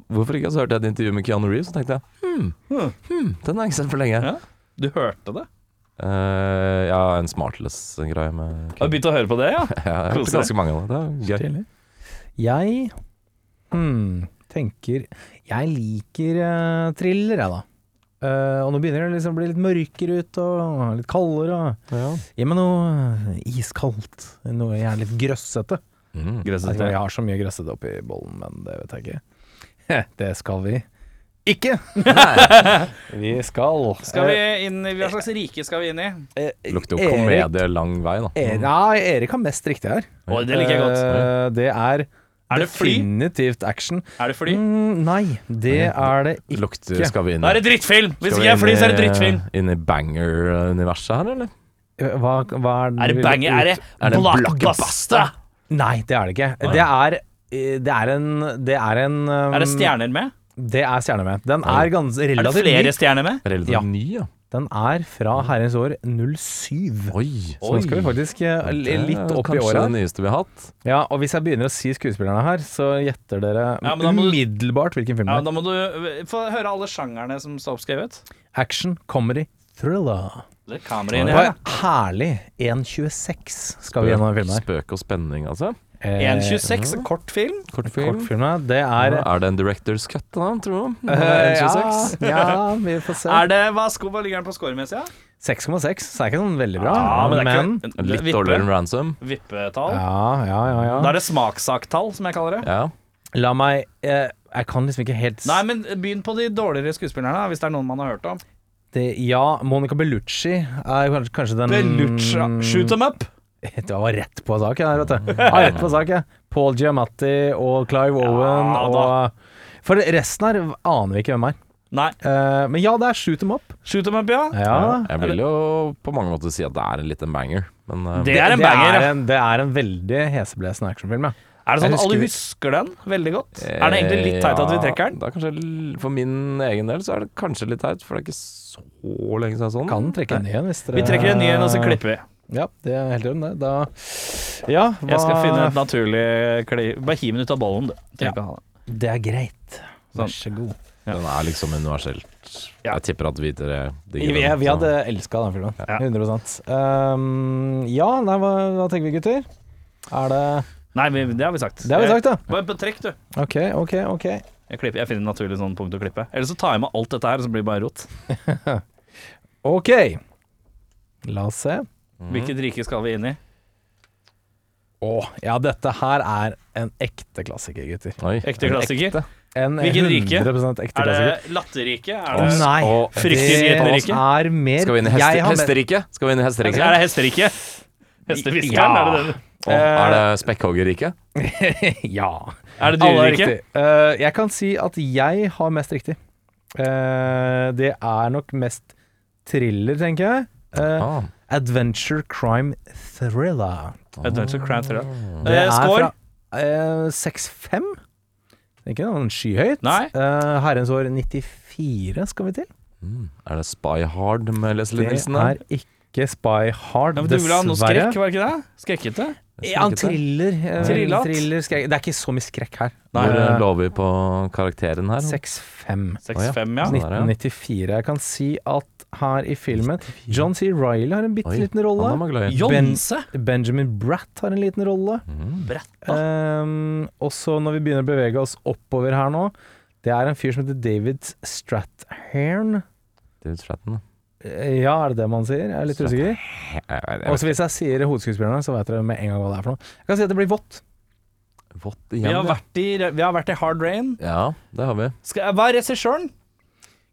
Speaker 2: hvorfor ikke? Så hørte jeg et intervju med Keanu Reeves, og tenkte jeg hmm, hmm, den har jeg ikke sett for lenge.
Speaker 5: Ja. Du hørte det?
Speaker 2: Eh, ja, en smartless-greie med *laughs*
Speaker 5: Har du begynt å høre på det, ja? *laughs*
Speaker 2: Jeg har hørt
Speaker 5: Koser deg.
Speaker 2: ganske mange av det. Det er gøy.
Speaker 4: Jeg hmm, tenker Jeg liker eh, thriller, jeg, da. Eh, og nå begynner det liksom å bli litt mørkere ute, og litt kaldere. Og...
Speaker 2: Ja.
Speaker 4: Gi meg noe iskaldt. Noe gjerne litt grøssete.
Speaker 2: Mm.
Speaker 4: Jeg tror jeg har så mye grøssete oppi bollen, men det vet jeg ikke. *laughs* Heh, Det skal vi ikke. *laughs* Eh, vi skal
Speaker 5: Skal vi inn i Hva slags rike skal vi inn i?
Speaker 4: Eh, eh,
Speaker 2: Lukter jo
Speaker 4: Erik-
Speaker 2: komedie lang vei, da. Mm.
Speaker 4: Erik- Ja, Erik har mest riktig her.
Speaker 5: Å, det liker jeg godt.
Speaker 4: Eh, det er
Speaker 5: Er det fly?
Speaker 4: definitivt action.
Speaker 5: Er det fly?
Speaker 4: Mm, nei, det er det ikke.
Speaker 2: Lukter Skal vi inn
Speaker 5: Da er det drittfilm! Hvis
Speaker 2: Skal vi
Speaker 5: ikke jeg fly, så er det
Speaker 2: inn i-
Speaker 5: drittfilm.
Speaker 2: Inn i banger-universet her, eller?
Speaker 4: Hva, hva er, den
Speaker 5: Er
Speaker 4: du
Speaker 5: det
Speaker 4: vil-
Speaker 5: banger? Er det
Speaker 2: Er det
Speaker 5: blockbuster?
Speaker 4: Nei, det er det ikke. Det er eh, det er en Det er en um,
Speaker 5: Er det stjerner med?
Speaker 4: Det er stjerner med. Den er gans
Speaker 5: Er Mm. det
Speaker 4: relativt
Speaker 5: flere
Speaker 4: ny.
Speaker 5: stjerner med?
Speaker 2: Relativt
Speaker 4: Ja.
Speaker 2: ny, ja.
Speaker 4: Den er fra herrens år 07.
Speaker 2: Oi.
Speaker 4: Så nå skal vi faktisk eh,
Speaker 2: Det er
Speaker 4: litt opp i
Speaker 2: Kanskje
Speaker 4: åra.
Speaker 2: det nyeste vi har hatt.
Speaker 4: Ja, og hvis jeg begynner å si skuespillerne her, så gjetter dere
Speaker 5: Ja, men da må du-
Speaker 4: umiddelbart hvilken film
Speaker 5: Ja,
Speaker 4: det
Speaker 5: Da
Speaker 4: er.
Speaker 5: må du eh, få høre alle sjangerne som står oppskrevet.
Speaker 4: Action, comedy, thriller.
Speaker 5: Det kameraet inn
Speaker 4: Det
Speaker 5: i
Speaker 4: var
Speaker 5: her.
Speaker 4: herlig. 1.26 skal vi gjennom i filmen her.
Speaker 2: Spøk og spenning, altså.
Speaker 4: Eh,
Speaker 5: 1.26, en kort film.
Speaker 2: Kortfilm.
Speaker 4: Kortfilmen, det
Speaker 5: *laughs*
Speaker 4: er
Speaker 2: Ja, Er det en director's cut, da, tror du?
Speaker 4: Eh, ja,
Speaker 2: 1,26?
Speaker 4: ja, vi får se.
Speaker 5: Er det, hva, sko, hva ligger den på scoremessig? Ja?
Speaker 4: 6,6, så det er ikke sånn veldig bra.
Speaker 5: det er
Speaker 4: men-
Speaker 5: ikke-
Speaker 2: Litt
Speaker 5: vippe-
Speaker 2: dårligere enn Ransom.
Speaker 5: Vippetall.
Speaker 4: Ja, ja, ja, ja.
Speaker 5: Da er det smakssaktall, som jeg kaller det.
Speaker 2: Ja.
Speaker 4: La meg eh, Jeg kan liksom ikke helt s-
Speaker 5: Nei, men begynn på de dårligere skuespillerne, da, hvis det er noen man har hørt om.
Speaker 4: det, Ja, Monica Bellucci er kanskje, kanskje den
Speaker 5: Mm. Bellucci. Shoot them up!
Speaker 4: Det var rett på sak, jeg, vet
Speaker 5: *laughs*
Speaker 4: du. Ja, rett på sak, jeg. Paul Giamatti og Clive Owen
Speaker 5: da.
Speaker 4: og For resten her aner vi ikke hvem er.
Speaker 5: Nei.
Speaker 4: Eh, men ja, det er Shoot Em Up.
Speaker 5: Shoot them up, ja.
Speaker 4: Ja,
Speaker 2: Jeg vil jo på mange måter si at det er en liten banger, men eh,
Speaker 5: Det er en banger.
Speaker 4: Det er
Speaker 5: ja.
Speaker 4: en, det er en veldig heseblesende actionfilm, ja.
Speaker 5: Er det sånn at
Speaker 4: Jeg husker
Speaker 5: alle
Speaker 4: vi-
Speaker 5: husker den veldig godt? Er det egentlig litt teit at vi
Speaker 2: Ja,
Speaker 5: trekker den?
Speaker 2: Det er kanskje, l- for min egen del så er det kanskje litt teit, for det er ikke så lenge siden sånn.
Speaker 4: Kan trekke en ny en hvis dere
Speaker 5: Vi trekker en ny en, og så klipper vi.
Speaker 4: Ja, det er helt i orden, det. Da Ja, hva
Speaker 5: Jeg skal finne et naturlig kli... Bare hiv den ut av bollen, du. Trenger ikke ha det.
Speaker 4: Det er greit. Vær så god.
Speaker 2: Den er liksom universelt.
Speaker 5: Ja.
Speaker 2: Jeg tipper at vi dere
Speaker 4: Vi,
Speaker 2: digger
Speaker 4: vi,
Speaker 2: den,
Speaker 4: vi
Speaker 2: så-
Speaker 4: hadde elska den filmen.
Speaker 5: Ja.
Speaker 4: 100 um, Ja, nei, hva, hva tenker vi, gutter? Er det
Speaker 5: Nei, vi- det har vi sagt.
Speaker 4: Det har vi sagt, da.
Speaker 5: Bare på trekk, du.
Speaker 4: OK, OK, OK.
Speaker 5: Jeg, klipper, jeg finner en naturlig sånn punkt å klippe. Eller så tar jeg med alt dette her, og så blir det bare rot.
Speaker 4: OK. La oss se.
Speaker 5: Hvilket rike skal vi inn i?
Speaker 4: Å, ja, dette her er en ekte klassiker, gutter.
Speaker 2: Oi.
Speaker 5: Ekte klassiker?
Speaker 4: En
Speaker 5: Hvilken rike?
Speaker 4: 100 ekte
Speaker 5: Er det
Speaker 4: klassiker.
Speaker 5: latterriket? Er det,
Speaker 2: Åh,
Speaker 4: Nei,
Speaker 2: og-
Speaker 5: Fryktelig
Speaker 4: det er mer
Speaker 2: Skal vi inn i
Speaker 4: Jeg
Speaker 2: heste,
Speaker 4: har med-
Speaker 2: hesteriket? Skal vi inn i hesteriket?
Speaker 5: er det hesteriket? Hestehviskeren?
Speaker 4: Ja.
Speaker 5: Er det den?
Speaker 2: Å, er det spekkhoggerriket?
Speaker 4: *laughs* Ja.
Speaker 5: Er det
Speaker 4: Alle er
Speaker 5: dyreriket?
Speaker 4: riktig. Eh, jeg kan si at jeg har mest riktig. Eh, det er nok mest thriller, tenker jeg. Eh,
Speaker 2: Ah.
Speaker 4: Adventure crime thriller.
Speaker 5: Adventure Crown Terror.
Speaker 4: Mm.
Speaker 2: Mm.
Speaker 4: Det
Speaker 5: Eh,
Speaker 4: er
Speaker 5: Score?
Speaker 4: fra, eh, 6-5. Det er Ikke noe skyhøyt.
Speaker 5: Nei.
Speaker 4: Eh, herrens år 94 skal vi til.
Speaker 2: Mm. Er det Spy Hard med Leslie
Speaker 4: Det
Speaker 2: Nilsen
Speaker 4: er
Speaker 2: der?
Speaker 4: ikke Spy Hard,
Speaker 5: Ja, men du ville ha noe skrekk,
Speaker 4: dessverre.
Speaker 5: var det ikke det? Skrekkete?
Speaker 4: Ja, en thriller. eh,
Speaker 5: Thrillat.
Speaker 4: thriller skrek. Det er ikke så mye skrekk her.
Speaker 2: Hvor
Speaker 4: Eh,
Speaker 2: eh, lå vi på karakteren her?
Speaker 4: 6-5.
Speaker 5: 6-5, ja.
Speaker 2: Sånn der, ja.
Speaker 4: 1994. Jeg kan si at her i filmen John C. Riley har en bitte
Speaker 2: Oi,
Speaker 4: liten
Speaker 2: Han er
Speaker 4: rolle.
Speaker 2: man glad i.
Speaker 5: Jonse?
Speaker 4: Benjamin Bratt har en liten rolle.
Speaker 2: Mm.
Speaker 5: Bretta.
Speaker 4: Um, og så når vi begynner å bevege oss oppover her nå Det er en fyr som heter David Strathairn.
Speaker 2: David Stratton.
Speaker 4: Eh, Ja, er det det man sier? Jeg er litt usikker.
Speaker 2: Jeg- jeg- jeg-
Speaker 4: Og så hvis jeg sier hovedskuespillerne, så vet dere med en gang hva det er for noe. Jeg kan si at det blir vått.
Speaker 2: Vått
Speaker 5: Vi
Speaker 2: igjen,
Speaker 5: har
Speaker 2: ja.
Speaker 5: vært i, vi har vært i Hard Rain.
Speaker 2: Ja, det har vi.
Speaker 5: Skal, hva er regissøren?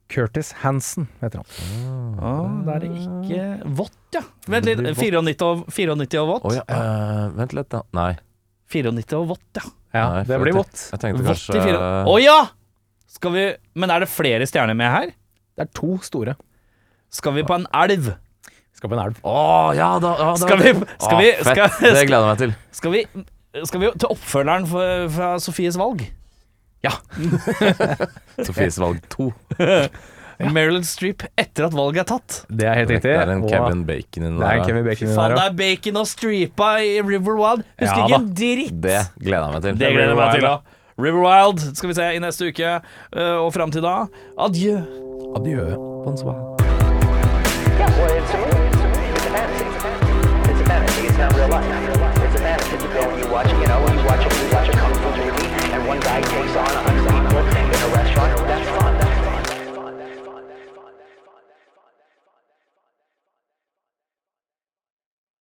Speaker 4: Curtis Hansen heter han.
Speaker 5: Oh, da er det ikke Vått, ja. Vent litt.
Speaker 2: Det Ah. blir vått.
Speaker 5: 94 og, 94 og vått.
Speaker 2: Å ja, eh, vent litt, da. Nei.
Speaker 5: 94 og vått, ja.
Speaker 4: Ja,
Speaker 2: Nei,
Speaker 4: det
Speaker 2: for
Speaker 4: blir
Speaker 2: jeg
Speaker 4: vått.
Speaker 2: Jeg tenkte
Speaker 5: Vått i
Speaker 2: kanskje
Speaker 5: fire Å ja! Skal vi Men er det flere stjerner med her?
Speaker 4: Det er to store.
Speaker 5: Skal vi på en elv?
Speaker 4: Skal på en elv.
Speaker 2: Å, ja da! Ja, da
Speaker 5: Skal vi- skal vi-
Speaker 2: Å, fett.
Speaker 5: skal-
Speaker 2: det gleder jeg meg til.
Speaker 5: Skal vi, skal vi til oppfølgeren for, fra Sofies valg?
Speaker 2: Sofies valg 2.
Speaker 5: Meryl Streep etter at valget er tatt.
Speaker 4: Det er helt
Speaker 2: Det
Speaker 4: riktig.
Speaker 2: er en
Speaker 4: og-
Speaker 2: Kevin Bacon inni
Speaker 4: Det er en
Speaker 2: der.
Speaker 4: Kevin Bacon
Speaker 5: Faen,
Speaker 4: der
Speaker 5: det
Speaker 4: òg.
Speaker 5: er bacon og stripa i River Wild. Husker
Speaker 4: Ja,
Speaker 5: ikke en dritt.
Speaker 2: Det gleder jeg meg til.
Speaker 5: Det gleder jeg meg til. da. River Wild skal vi se i neste uke, eh, og fram til da adjø.
Speaker 4: Adjø. Bonsoir.